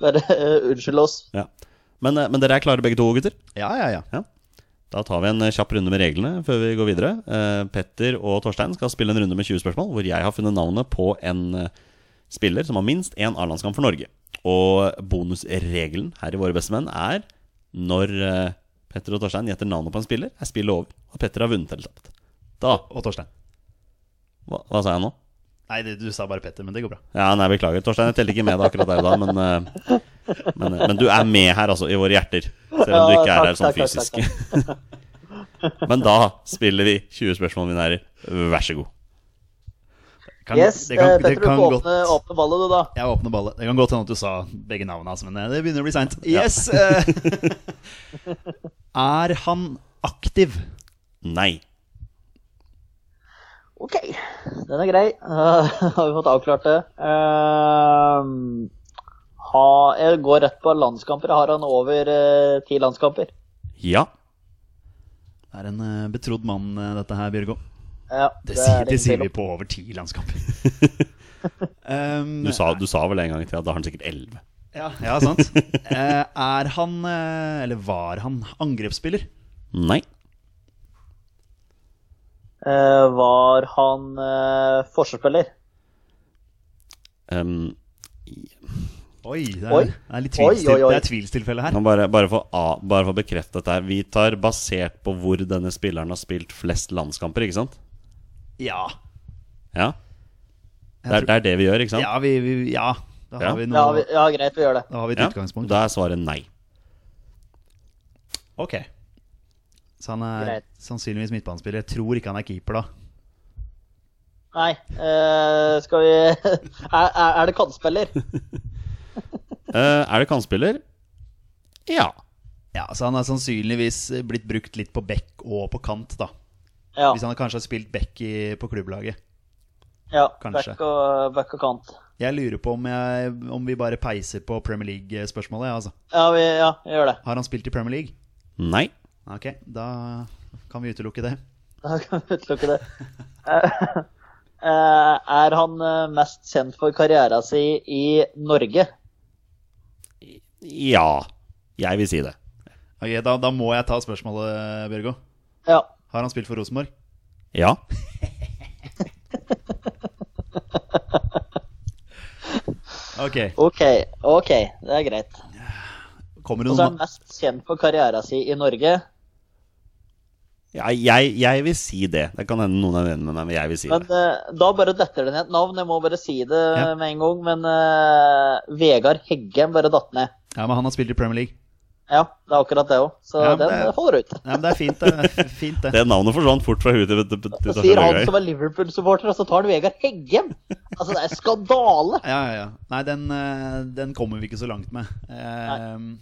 D: bare eh, unnskylde oss.
B: Ja. Men, eh, men dere er klare begge to, gutter?
C: Ja, ja, ja.
B: Da tar vi en eh, kjapp runde med reglene før vi går videre. Eh, Petter og Torstein skal spille en runde med 20 spørsmål, hvor jeg har funnet navnet på en eh, spiller som har minst én A-landskamp for Norge. Og bonusregelen her i Våre bestemenn er når eh, Petter og Torstein gjetter navnet på en spiller, er spillet over, og Petter har vunnet eller tapt. Da
C: Og Torstein.
B: Hva, hva sa jeg nå?
C: Nei, det, du sa bare Petter, men det går bra.
B: Ja, nei, beklager. Torstein, jeg teller ikke med deg akkurat der og da, men, eh, men, men du er med her, altså, i våre hjerter. Selv om du
D: Ja,
B: ikke er
D: takk,
B: her sånn
D: takk, takk,
B: fysisk. Men da spiller vi 20 spørsmål, mine herrer. Vær så god.
C: Kan-
D: yes,
C: det kan-
D: eh,
C: det
D: Petter, du
C: kan
D: får
C: godt-
D: åpne, åpne ballet, du, da.
C: Jeg åpner ballet. Det kan godt hende at du sa begge navnene hans, men eh, det begynner å bli seint. Yes, eh, er han aktiv?
B: Nei.
D: Ok, den er grei. Da har vi fått avklart det. Ehm, ha, jeg går rett på landskamper. Har han over eh, ti landskamper?
B: Ja.
C: Det er en eh, betrodd mann, eh, dette her, Bjørgo.
D: Ja,
C: Det, sier,
D: er
C: det
D: ingen
C: sier
D: tvil
C: vi
D: om.
C: på over ti landskamper. um,
B: Du sa, du sa vel en gang til at da har han sikkert 11.
C: ja, ja, sant. Eh, er han, eh, eller var han, angrepsspiller?
B: Nei.
D: Eh, var han uh, forsvarsspiller?
B: Um,
C: Oi, det er,
D: Oi.
C: Det er litt
D: Oi,
C: tvilstil,
D: oi, oi.
C: Det er tvilstilfelle her.
B: nå bare, bare for å bare for å bekrefte dette her. Vi tar basert på hvor denne spilleren har spilt flest landskamper, ikke sant?
C: Ja.
B: Ja. Det er, det er det vi gjør, ikke sant?
C: Ja, vi, vi, ja. Da har
B: Ja.
C: vi
D: Ja,
C: noe
D: vi, ja, greit, vi gjør det.
C: Da har vi et utgangspunkt.
B: Da er svaret nei.
C: Ok. Så han er
D: Greit.
C: sannsynligvis midtbanespiller. Jeg tror ikke han er keeper, da.
D: Nei, eh, skal vi er, er er det kantspiller?
B: Eh, er det kantspiller? Ja.
C: Ja, Så han er sannsynligvis blitt brukt litt på bekk og på kant, da.
D: Ja.
C: Hvis han kanskje har spilt bekk i, på klubblaget.
D: ja
C: kanskje.
D: back, og, back og kant.
C: Jeg lurer på om, jeg, om vi bare peiser på Premier League-spørsmålet. Ja, altså.
D: Ja, vi, ja, vi gjør det.
C: Har han spilt i Premier League?
B: Nei.
C: Ok, da kan vi utelukke det.
D: Da kan vi utelukke det. Eh, eh, er han eh, mest kjent for karriera si i Norge?
B: Ja. Jeg vil si det.
C: Ok, Da, da må jeg ta spørsmålet, Bjørgo.
D: Ja.
C: Har han spilt for Rosenborg?
B: Ja.
C: Ok.
D: Ok, ok, det er greit.
C: Kommer det
D: Og så er han
C: noen
D: mest kjent for karriera si i Norge.
B: Ja, jeg, jeg vil si det. Det kan hende noen er uenig med meg, men jeg vil si
D: Men
B: det.
D: eh, da bare detter det ned et navn, jeg må bare si det
C: Ja.
D: med en gang. Men eh, Vegard Heggem bare datt ned.
C: Ja, men han har spilt i Premier League.
D: Ja, det er akkurat det òg. Så
C: Ja, men
D: den
C: det-
D: eh, faller ut.
C: Nei, men Det er fint, det. Fint, det.
B: Det navnet forsvant fort fra huet til til- til- til
D: Så
B: Torstein
D: sier han
B: Børge.
D: som er Liverpool-supporter, og så tar han Vegard Heggem! Altså, det er skandale!
C: Ja, ja, ja. Nei, den, eh, den kommer vi ikke så langt med. Eh,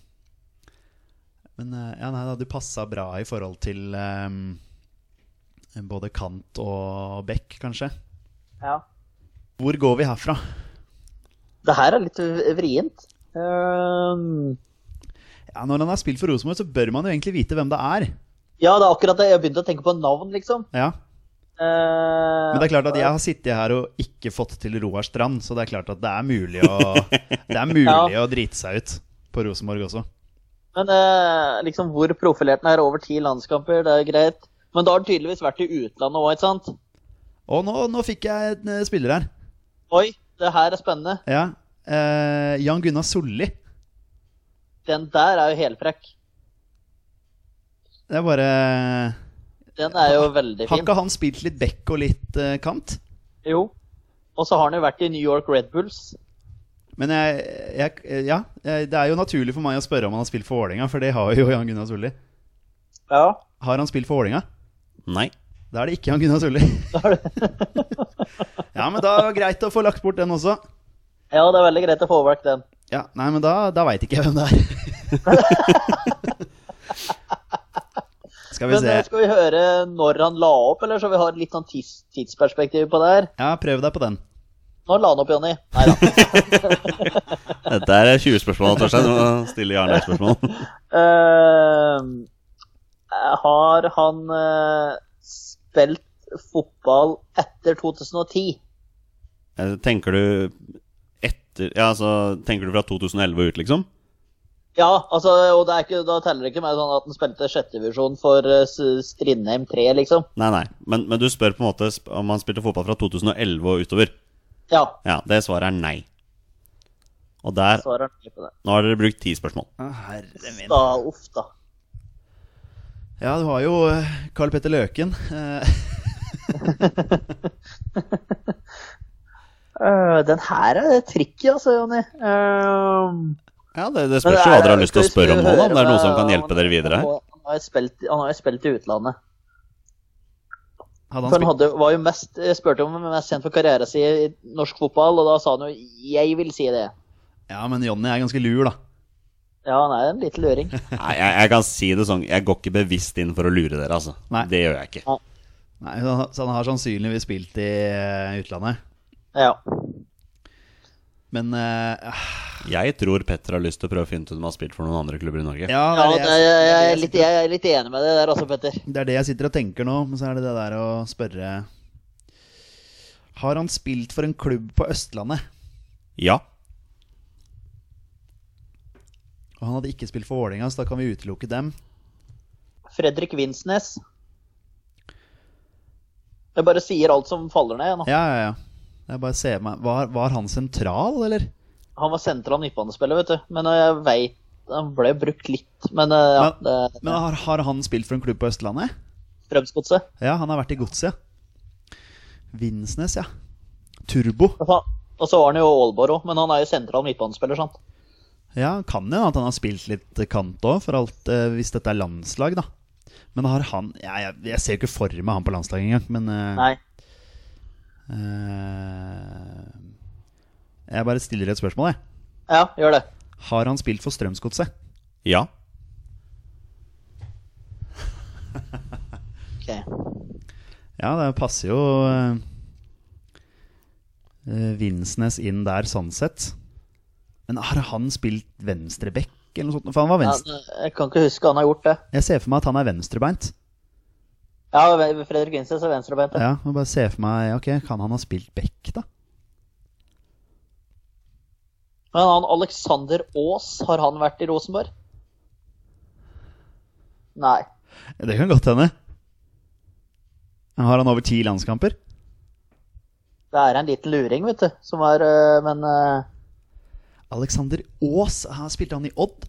C: Men eh, ja, nei, det hadde passa bra i forhold til eh, både Kant og Beck, kanskje.
D: Ja.
C: Hvor går vi herfra?
D: Det her er litt vrient. Ehm,
C: Ja, når han har spilt for Rosenborg, så bør man jo egentlig vite hvem det er.
D: ja, det er akkurat det. Jeg begynte å tenke på navn, liksom.
C: Ja.
D: Ehm,
C: Men det er klart at jeg har sittet her og ikke fått til Roar Strand, så det er klart at det er mulig å, det er mulig
D: Ja.
C: å drite seg ut på Rosenborg også.
D: Men eh, liksom hvor profilert den er over ti landskamper, det er greit. Men da har den tydeligvis vært i utlandet òg, ikke sant?
C: Og nå, nå fikk jeg en eh, spiller her.
D: Oi, det her er spennende.
C: Ja. Eh, Jan Gunnar Solli.
D: Den der er jo helfrekk.
C: Det er bare
D: Den er jo veldig
C: Har
D: fin.
C: ikke han spilt litt back og litt eh, kant?
D: Jo. Og så har han jo vært i New York Red Bulls.
C: Men jeg, jeg Ja. eh, Det er jo naturlig for meg å spørre om han har spilt for Vålerenga, for det har jo Jan Gunnar Solli.
D: Ja.
C: Har han spilt for Vålerenga?
B: Nei.
C: Da er det ikke Jan Gunnar Solli. ja, men da er det greit å få lagt bort den også.
D: ja, det er veldig greit å få vekk den.
C: Ja, Nei, men da, da veit ikke jeg hvem det er. Skal vi
D: Men
C: se.
D: eh, skal vi høre når han la opp, eller så vi har litt sånn tids tidsperspektiv på det her?
C: Ja, prøv deg på den.
D: Når la han opp, Jonny? Nei da.
B: Dette er 20 spørsmål, Torstein. Du må stille ja- eller nei-spørsmål.
D: Eh, har han eh, spilt fotball etter 2010?
B: Eh, Tenker du etter Ja, altså Tenker du fra 2011 og ut, liksom?
D: Ja, altså, og det er ikke, da teller det ikke meg sånn at han spilte sjettedivisjon for eh, S- Strindheim 3, liksom.
B: Nei, nei. Men, men du spør på en måte sp- om han spilte fotball fra 2011 og utover.
D: Ja,
B: Ja, det svaret er nei. Og der
D: svarer han ikke på det.
B: Nå har dere brukt ti spørsmål.
C: Å, herre min.
D: Da, uff da.
C: Ja, du har jo eh, Karl Petter Løken. eh,
D: Eh, den her er tricky, altså, Jonny. Eh,
B: Ja, Det, det
D: Men
B: spørs jo
D: det er-
B: hva dere har lyst til å
D: skal vi
B: spørre om nå, da. Om det er
D: høre
B: noe som kan
D: med-
B: hjelpe dere videre her.
D: Han har jo spilt, han har jo spilt i utlandet.
C: Hadde
D: For han
C: han spilt
D: hadde, var jo mest, jeg spurte om han var mest kjent for karrieren sin i norsk fotball, og da sa han jo 'jeg vil si det'.
C: Ja, men Jonny er ganske lur, da.
D: Ja, han er en liten luring.
B: Nei, jeg, jeg kan si det sånn, jeg går ikke bevisst inn for å lure dere, altså.
C: Nei.
B: Det gjør jeg ikke.
C: Nei, så han- så han har sannsynligvis spilt i eh, utlandet.
D: Ja.
C: Men eh,
B: Jeg tror Petter har lyst til å prøve å finne ut om han har spilt for noen andre klubber i Norge.
C: ja, det
D: ja
C: er
D: det,
C: det,
D: jeg,
C: jeg,
D: jeg, er litt, jeg er litt enig med det der også, Petter.
C: det er det jeg sitter og tenker nå. Men så er det det der å spørre Har han spilt for en klubb på Østlandet?
B: Ja.
C: Og han hadde ikke spilt for Vålerenga, så da kan vi utelukke dem.
D: Fredrik Vinsnes. Jeg bare sier alt som faller ned. nå.
C: Ja, ja, ja. Jeg bare ser meg Var, var han sentral, eller?
D: Han var sentral midtbanespiller, vet du. Men jeg veit Han ble brukt litt, men eh, ja.
C: Men-
D: det-
C: Men har, har han spilt for en klubb på Østlandet?
D: Strømsgodset.
C: Ja, han har vært i Godset, ja. Vinsnes, ja. Turbo.
D: Og så- Og så var han jo Aalborg òg, men han er jo sentral midtbanespiller, sant.
C: Ja, kan jo at han har spilt litt kant òg, for alt eh, hvis dette er landslag, da. Men har han ja, jeg, jeg ser jo ikke for meg han på landslaget engang, men eh,
D: Nei.
C: eh, Jeg bare stiller et spørsmål, jeg.
D: Ja, gjør det.
C: Har han spilt for Strømsgodset?
B: Ja.
D: Ok.
C: Ja, det passer jo eh, eh, Vinsnes inn der, sånn sett. Men har han spilt venstreback, eller noe sånt? For han var
D: Ja, eh,
C: venstre.
D: jeg kan ikke huske han har gjort det.
C: Jeg ser for meg at han er venstrebeint.
D: Ja, Fredrik Vinsnes er venstrebeint.
C: Ja, må bare se for meg Ok, kan han ha spilt back, da?
D: Men han Alexander Aas, har han vært i Rosenborg? Nei.
C: Det kan godt hende. Har han over ti landskamper?
D: Det er en liten luring, vet du, som er øh, Men øh,
C: Alexander Aas, han spilte han i Odd?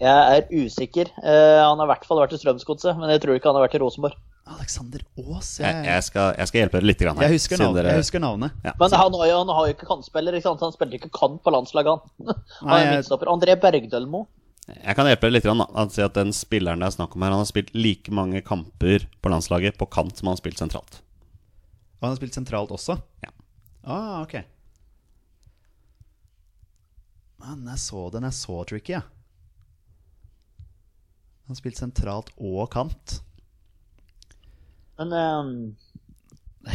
D: jeg er usikker. Eh, han har i hvert fall vært i Strømsgodset, men jeg tror ikke han har vært i Rosenborg.
C: Alexander Aas, jeg,
B: Jeg, jeg, skal, jeg skal hjelpe dere litt grann her.
C: jeg, husker,
B: siden
C: navnet,
B: dere-
C: jeg husker navnet.
D: Men han, har jo- han har jo ikke kantspiller, ikke sant? så han spilte ikke kant på landslaget, han. han
C: Nei,
D: er
C: jeg-
D: midtstopper. André Bergdølmo.
B: Jeg kan hjelpe dere litt grann, da. Han sier at den spilleren det er snakk om her, han har spilt like mange kamper på landslaget på kant som han har spilt sentralt.
C: Og han har spilt sentralt også?
B: Ja.
C: Ah, ok. Men jeg så den er så tricky, ja. Han har spilt sentralt og kant.
D: Men eh,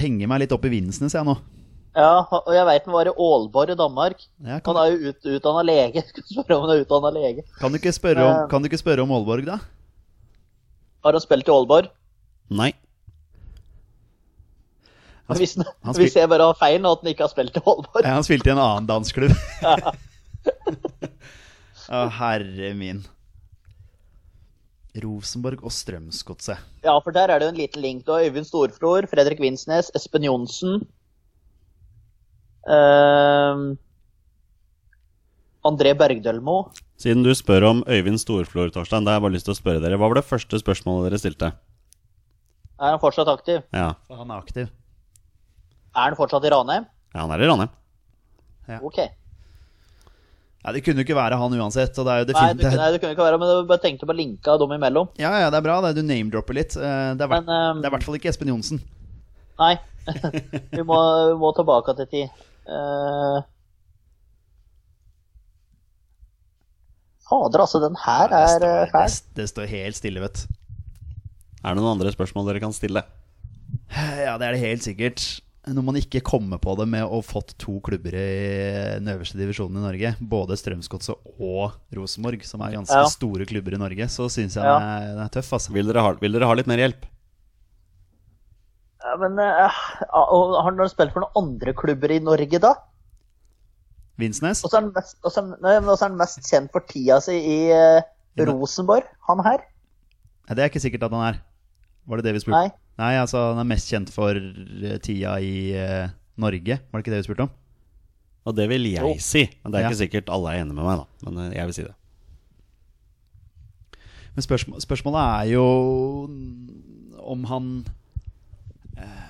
C: Henger meg litt opp i vinsten, ser jeg nå.
D: ja, og jeg veit han var i Aalborg i Danmark.
C: Ja,
D: Han
C: kan,
D: er jo ut, utdanna lege. Skal spørre om han er utdanna lege.
C: kan, du ikke spørre om, kan du ikke spørre om Aalborg, da?
D: Har han spilt i Aalborg?
B: Nei.
C: Han,
D: Hvis, han,
C: han
D: hvis jeg bare har feil nå, at han ikke har spilt i Aalborg.
C: Ja, han spilte i en annen dansklubb. Å, herre min. Rosenborg og Strømsgodset.
D: Ja, for der er det jo en liten link. Du har Øyvind Storflor, Fredrik Vinsnes, Espen Johnsen ehm, André Bergdølmo.
B: Siden du spør om Øyvind Storflor, Torstein, da har jeg bare lyst til å spørre dere. Hva var det første spørsmålet dere stilte?
D: Er han fortsatt aktiv?
B: Ja,
C: Han er aktiv.
D: Er han fortsatt i Ranheim?
B: ja han er i Ranheim.
D: Ok.
C: Ja, det kunne jo ikke være han uansett. Og det er jo
D: Nei, du,
C: definitivt
D: nei, det kunne ikke være, men jeg bare tenkte på linka dem imellom.
C: Ja, ja, det er bra. Det, er- du name-dropper litt. Eh, Det er, hvert-
D: Men, ehm,
C: det er i hvert fall ikke Espen Johnsen.
D: Nei. vi, må, vi må tilbake til tid. Eh, Fader, altså. Den her
C: det,
D: er eh,
C: står, det,
D: fæl.
C: s- det står helt stille, vet du.
B: Er det noen andre spørsmål dere kan stille?
C: Ja, det er det helt sikkert. Når man ikke kommer på det med å fått to klubber i den øverste divisjonen i Norge, både Strømsgodset og Rosenborg, som er ganske
D: Ja.
C: store klubber i Norge, så syns jeg
D: Ja.
C: den, er, den er tøff, altså.
B: Vil dere ha, vil dere ha litt mer hjelp?
D: Ja, men eh, og har han spilt for noen andre klubber i Norge, da?
C: Vinsnes?
D: Og så er han mest, og så er han- nei, men også er han mest kjent for tida si i eh, Rosenborg, han her.
C: Nei, det er ikke sikkert at han er. Var det det vi spurte
D: Nei.
C: om? Nei, altså, han er mest kjent for eh, tida i eh, Norge, var det ikke det vi spurte om?
B: Og det vil jeg si. Men det er
C: Ja.
B: ikke sikkert alle er enig med meg, da. Men eh, jeg vil si det.
C: Men spørsmål, spørsmålet er jo om han eh,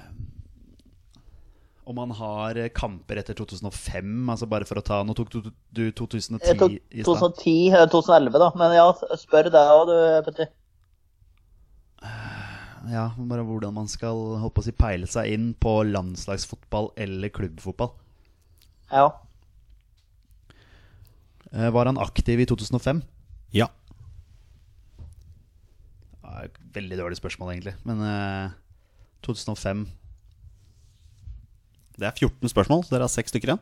C: Om han har kamper etter 2005, altså bare for å ta Nå tok du, du 2010
D: Eh, to- eh,
C: i stad.
D: 2010 eller 2011, da. Men ja, spør deg òg, du, Petter.
C: Ja, bare hvordan man skal holdt på å si, peile seg inn på landslagsfotball eller klubbfotball.
D: Ja.
C: Eh, Var han aktiv i 2005?
B: Ja.
C: Ja, Veldig dårlig spørsmål, egentlig. Men eh, 2005
B: Det er 14 spørsmål, så dere har seks stykker igjen.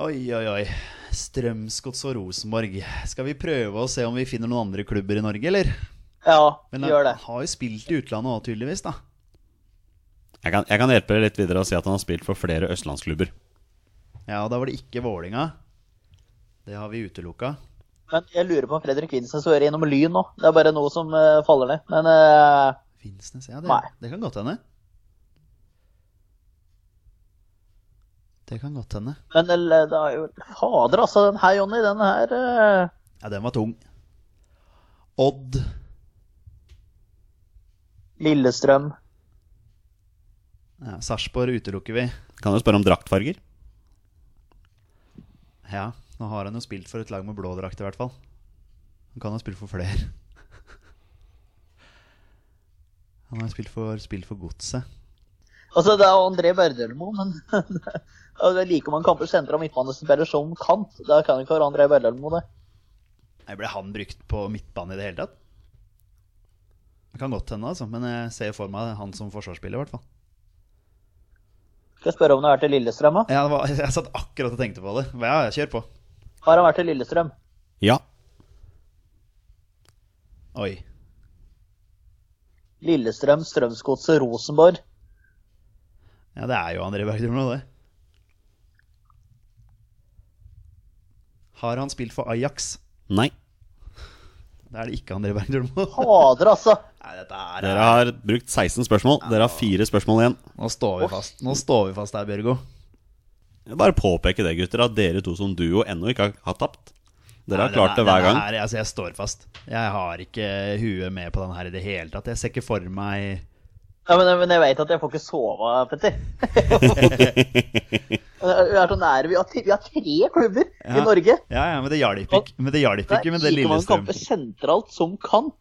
C: Oi, oi, oi. Strømsgods og Rosenborg. Skal vi prøve å se om vi finner noen andre klubber i Norge, eller?
D: Ja,
C: Men eh,
D: gjør
C: han
D: det.
C: har jo spilt i utlandet òg, tydeligvis. da
B: Jeg kan, jeg kan hjelpe dere litt videre og si at han har spilt for flere østlandsklubber.
C: Ja, og Da var det ikke Vålinga. Det har vi utelukka.
D: Men jeg lurer på om Fredrik Vinsnes hører innom Lyn nå. Det er bare noe som eh, faller ned. Men eh,
C: Finnsnes, ja. Det,
D: Nei.
C: det kan godt hende. Det kan godt hende.
D: men eh, det er jo Fader, altså. Den her, Jonny, den her eh,
C: Ja, den var tung. Odd
D: Lillestrøm
C: ja, Sarpsborg utelukker vi.
B: Kan jo spørre om draktfarger.
C: Ja, nå har han jo spilt for et lag med blå drakt, i hvert fall. Han kan ha spilt for flere. Han har spilt for, spilt for Godset.
D: Altså, det er jo André Berdelmo, men Ja, det liker man kamper sentral og midtbanespiller som kant. Da kan det ikke være André Berdelmo, det.
C: Nei, Ble han brukt på midtbane i det hele tatt? Det kan godt hende, altså, men jeg ser for meg han som forsvarsspiller. i hvert fall
D: Skal jeg spørre om han har vært i Lillestrøm, da?
C: ja, det var, Jeg satt akkurat og tenkte på det. Men Ja, ja, kjør på.
D: Har han vært i Lillestrøm?
B: Ja.
C: Oi.
D: Lillestrøm, Strømsgodset, Rosenborg.
C: Ja, det er jo André Bergdrum nå, det. Har han spilt for Ajax?
B: Nei.
C: Da er det ikke André Bergdrum.
D: Fader, altså!
C: Nei, dette er
B: Dere har brukt 16 spørsmål. Dere har fire spørsmål igjen.
C: Nå står vi fast Nå står vi fast der, Bjørgo.
B: Jeg vil Bare påpeke det, gutter, at dere to som duo ennå ikke har, har tapt. Dere har
C: Nei,
B: klart
C: den
B: det
C: er-
B: hver gang.
C: den er- altså, jeg står fast. Jeg har ikke huet med på den her i det hele tatt. Jeg ser ikke for meg
D: Ja, men, men jeg veit at jeg får ikke sove, Petter. vi er så nære. Vi har, tre- vi har tre klubber
C: Ja.
D: i Norge.
C: Ja, ja, men det hjalp ikke. Men det hjalp ikke med det
D: like mange
C: Lillestrøm.
D: kamper sentralt som kant.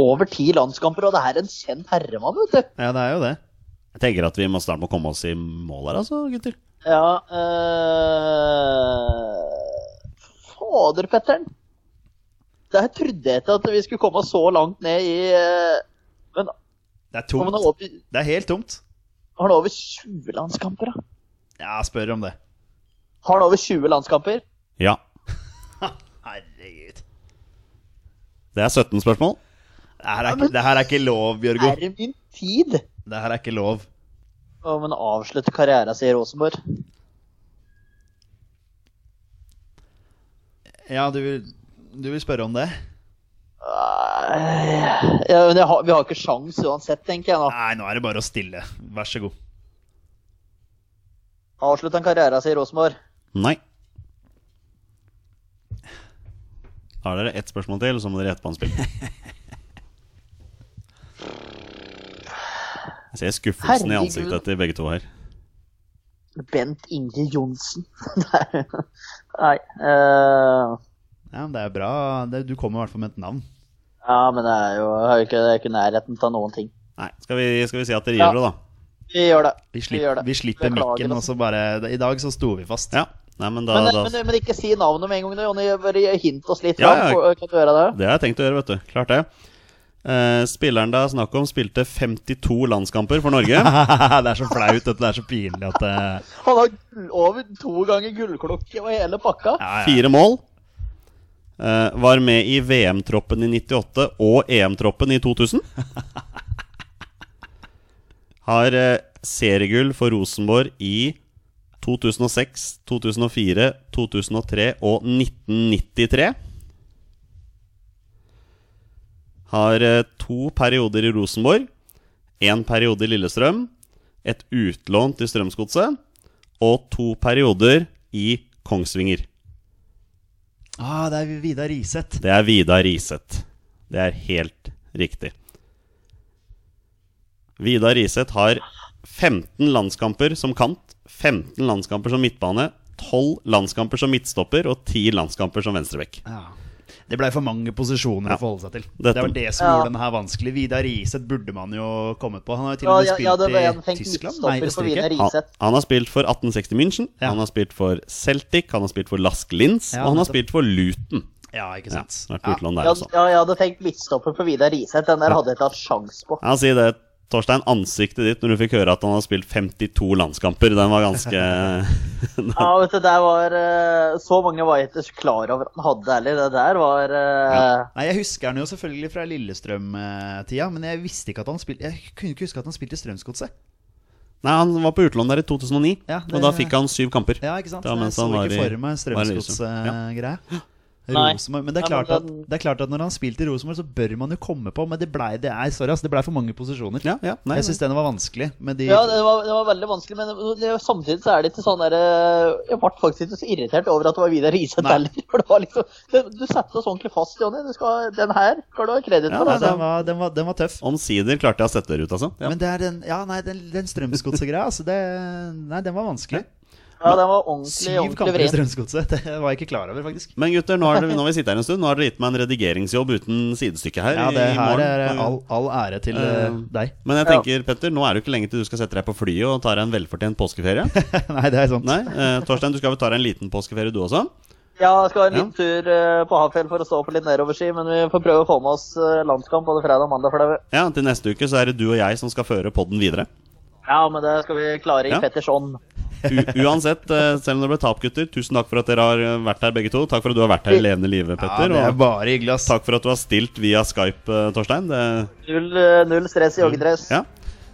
D: Over ti landskamper, og det er en kjent herremann, vet du.
C: Ja, det er jo det.
B: Jeg tenker at vi må snart må komme oss i mål her, altså, gutter.
D: Ja eh, Fader, Petter'n. Der trodde jeg ikke at vi skulle komme så langt ned i eh, Men
C: Det er
D: om han har
C: tomt.
D: over,
C: Det er helt tomt.
D: har han over 20 landskamper, da?
C: Ja, spør om det.
D: Har han over 20 landskamper?
B: Ja.
C: Herregud.
B: Det er 17 spørsmål.
C: Det her er ikke, det her er ikke lov, Bjørgo.
D: Er det min tid?
C: Det her er ikke lov.
D: Om han avslutter karrieren sin i Rosenborg?
C: Ja, du vil, du vil spørre om det?
D: Eh, Ja, men jeg har, vi har ikke sjans uansett, tenker jeg nå.
C: Nei, nå er det bare å stille. Vær så god.
D: Avslutter han karrieren sin i Rosenborg?
B: Nei. Da har dere ett spørsmål til, så må dere gjette på en spill. Jeg ser skuffelsen i
D: Herregud.
B: ansiktet til begge to her.
D: Bent Inge Johnsen. Nei. Nei. eh,
C: Ja, men det er bra. Det, du kommer i hvert fall med et navn.
D: ja, men det er jo jeg har jo ikke, det er ikke nærheten til noen ting.
B: Nei, skal vi, skal vi si at dere
D: Ja.
B: gir dere, da?
D: Vi gjør det.
C: Vi,
D: gjør
C: slipper,
D: det.
C: vi slipper
D: Beklager,
C: mikken, og
D: altså.
C: så bare I dag så sto vi fast.
B: Ja. Nei, men da,
D: Men, eh,
B: da
D: men, men ikke si navnet med en gang, nå, Jonny. Bare hint oss litt.
B: Ja,
D: da.
B: ja.
D: Får- Kan du gjøre det?
B: Det har jeg tenkt å gjøre, vet du. Klart det. Eh, spilleren det er snakk om, spilte 52 landskamper for Norge.
C: det er så flaut, dette. Det er så pinlig at eh,
D: Han har gull- over to ganger gullklokke og hele pakka.
C: ja, ja.
B: Fire mål. Eh, var med i VM-troppen i 98 og EM-troppen i 2000. Har eh, seriegull for Rosenborg i 2006, 2004, 2003 og 1993. Har eh, to perioder i Rosenborg, én periode i Lillestrøm, et utlån til Strømsgodset og to perioder i Kongsvinger.
C: Ah, det er Vidar Riseth.
B: Det er Vidar Riseth. Det er helt riktig. Vidar Riseth har 15 landskamper som kant, 15 landskamper som midtbane, 12 landskamper som midtstopper og 10 landskamper som venstrebekk.
C: Ja. Det blei for mange posisjoner å forholde seg til.
B: Dette-
C: Det var det som
D: Ja.
C: gjorde denne her vanskelig. Vidar Riseth burde man jo kommet på. Han har jo til
D: Ja,
C: og med
D: ja, ja, det var jeg
C: spilt i
D: tenkte
C: Tyskland. Nei,
D: midtstopper for Wiener
C: Østerrike.
B: Han,
D: Riseth.
B: han har spilt for 1860 München,
C: Ja.
B: han har spilt for Celtic, han har spilt for Lask Linz,
C: Ja,
B: og han har
C: nettopp.
B: spilt for Luton.
C: Ja, ikke
B: Ja,
C: sant.
B: vært på
C: Ja.
B: utlån der
D: Ja,
B: også.
D: ja, jeg hadde tenkt midtstopper for Vidar Riseth. Den der hadde jeg ikke hatt sjans på.
B: Ja, si det, Torstein. Ansiktet ditt når du fikk høre at han har spilt 52 landskamper, den var ganske
D: Ja, vet du, der var eh, Så mange var jeg ikke klar over at han hadde, ærlig. Det der var eh,
C: Nei, Jeg husker han jo selvfølgelig fra Lillestrøm-tida, men jeg visste ikke at han spilte Jeg kunne ikke huske at han spilte i Strømsgodset.
B: Nei, han var på utlån der i 2009,
C: Ja, det-
B: og da fikk han syv kamper.
C: Ja, ikke sant?
B: Det var
C: jeg
B: mens
C: så
B: han sånn var
C: ikke
B: i-
C: for meg
B: var i Lillestrøm.
C: Strømsgodset-greia.
D: Nei.
C: Rosenborg. Men det er,
D: Ja, men
C: klart at,
D: den-
C: det er klart at når han spilte i Rosenborg, så bør man jo komme på. Men det blei det er, sorry, ass, det blei for mange posisjoner.
B: Ja, ja, nei,
C: jeg syns den var vanskelig. Med de,
D: Ja, det var, det var veldig vanskelig, men det, samtidig så er det ikke sånn der eh, Jeg ble faktisk ikke så irritert over at det var Vidar Riseth
C: Nei.
D: heller. For det var liksom det, Du satte oss ordentlig fast, Jonny. Du skal, den her skal du ha kreditt
B: Ja,
D: for.
B: nei,
D: Altså.
C: den, var, den, var, den var tøff.
B: Omsider klarte jeg å sette dere ut, altså. Ja.
C: Men det er den, ja, nei, den, den Strømsgodset-greia, altså det, Nei, den var vanskelig.
D: Ja, den var ordentlig,
C: Syv
D: ordentlig
C: kamper i
D: vrien.
C: Strømsgodset. Det var jeg ikke klar over, faktisk.
B: Men gutter, nå har, dere- nå har vi sittet her en stund. Nå har dere gitt meg en redigeringsjobb uten sidestykke her.
C: Ja,
B: i-
C: det
B: i
C: her er
B: morgen.
C: all, all ære til eh, deg.
B: Men jeg tenker, Petter, nå er det jo ikke lenge til du skal sette deg på flyet og ta deg en velfortjent påskeferie.
C: Nei, det er sant.
B: Nei, eh, Torstein, du skal vel ta deg en liten påskeferie du også?
D: Ja, jeg skal ha en liten tur eh, på Hafjell for å stå på litt nedoverski, men vi får prøve å få med oss eh, landskamp både fredag og mandag. For det.
B: Ja, Til neste uke så er det du og jeg som skal føre podden videre.
D: Ja, men det skal vi klare i
B: Ja.
D: Petters ånd.
B: U uansett, eh, selv om det ble tap, gutter, tusen takk for at dere har eh, vært her begge to. Takk for at du har vært her i levende live,
C: Ja,
B: Petter.
C: det er
B: Og
C: bare hyggelig, ass.
B: takk for at du har stilt via Skype, eh, Torstein. Det
D: Null, eh, null stress i joggedress.
B: Mm. Ja.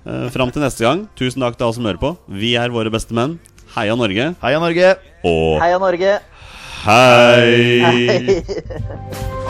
B: Eh, Fram til neste gang, tusen takk til alle som hører på. Vi er våre beste menn. Heia Norge.
C: Heia Norge!
B: Og
D: Heia Norge!
B: hei!
D: Hei.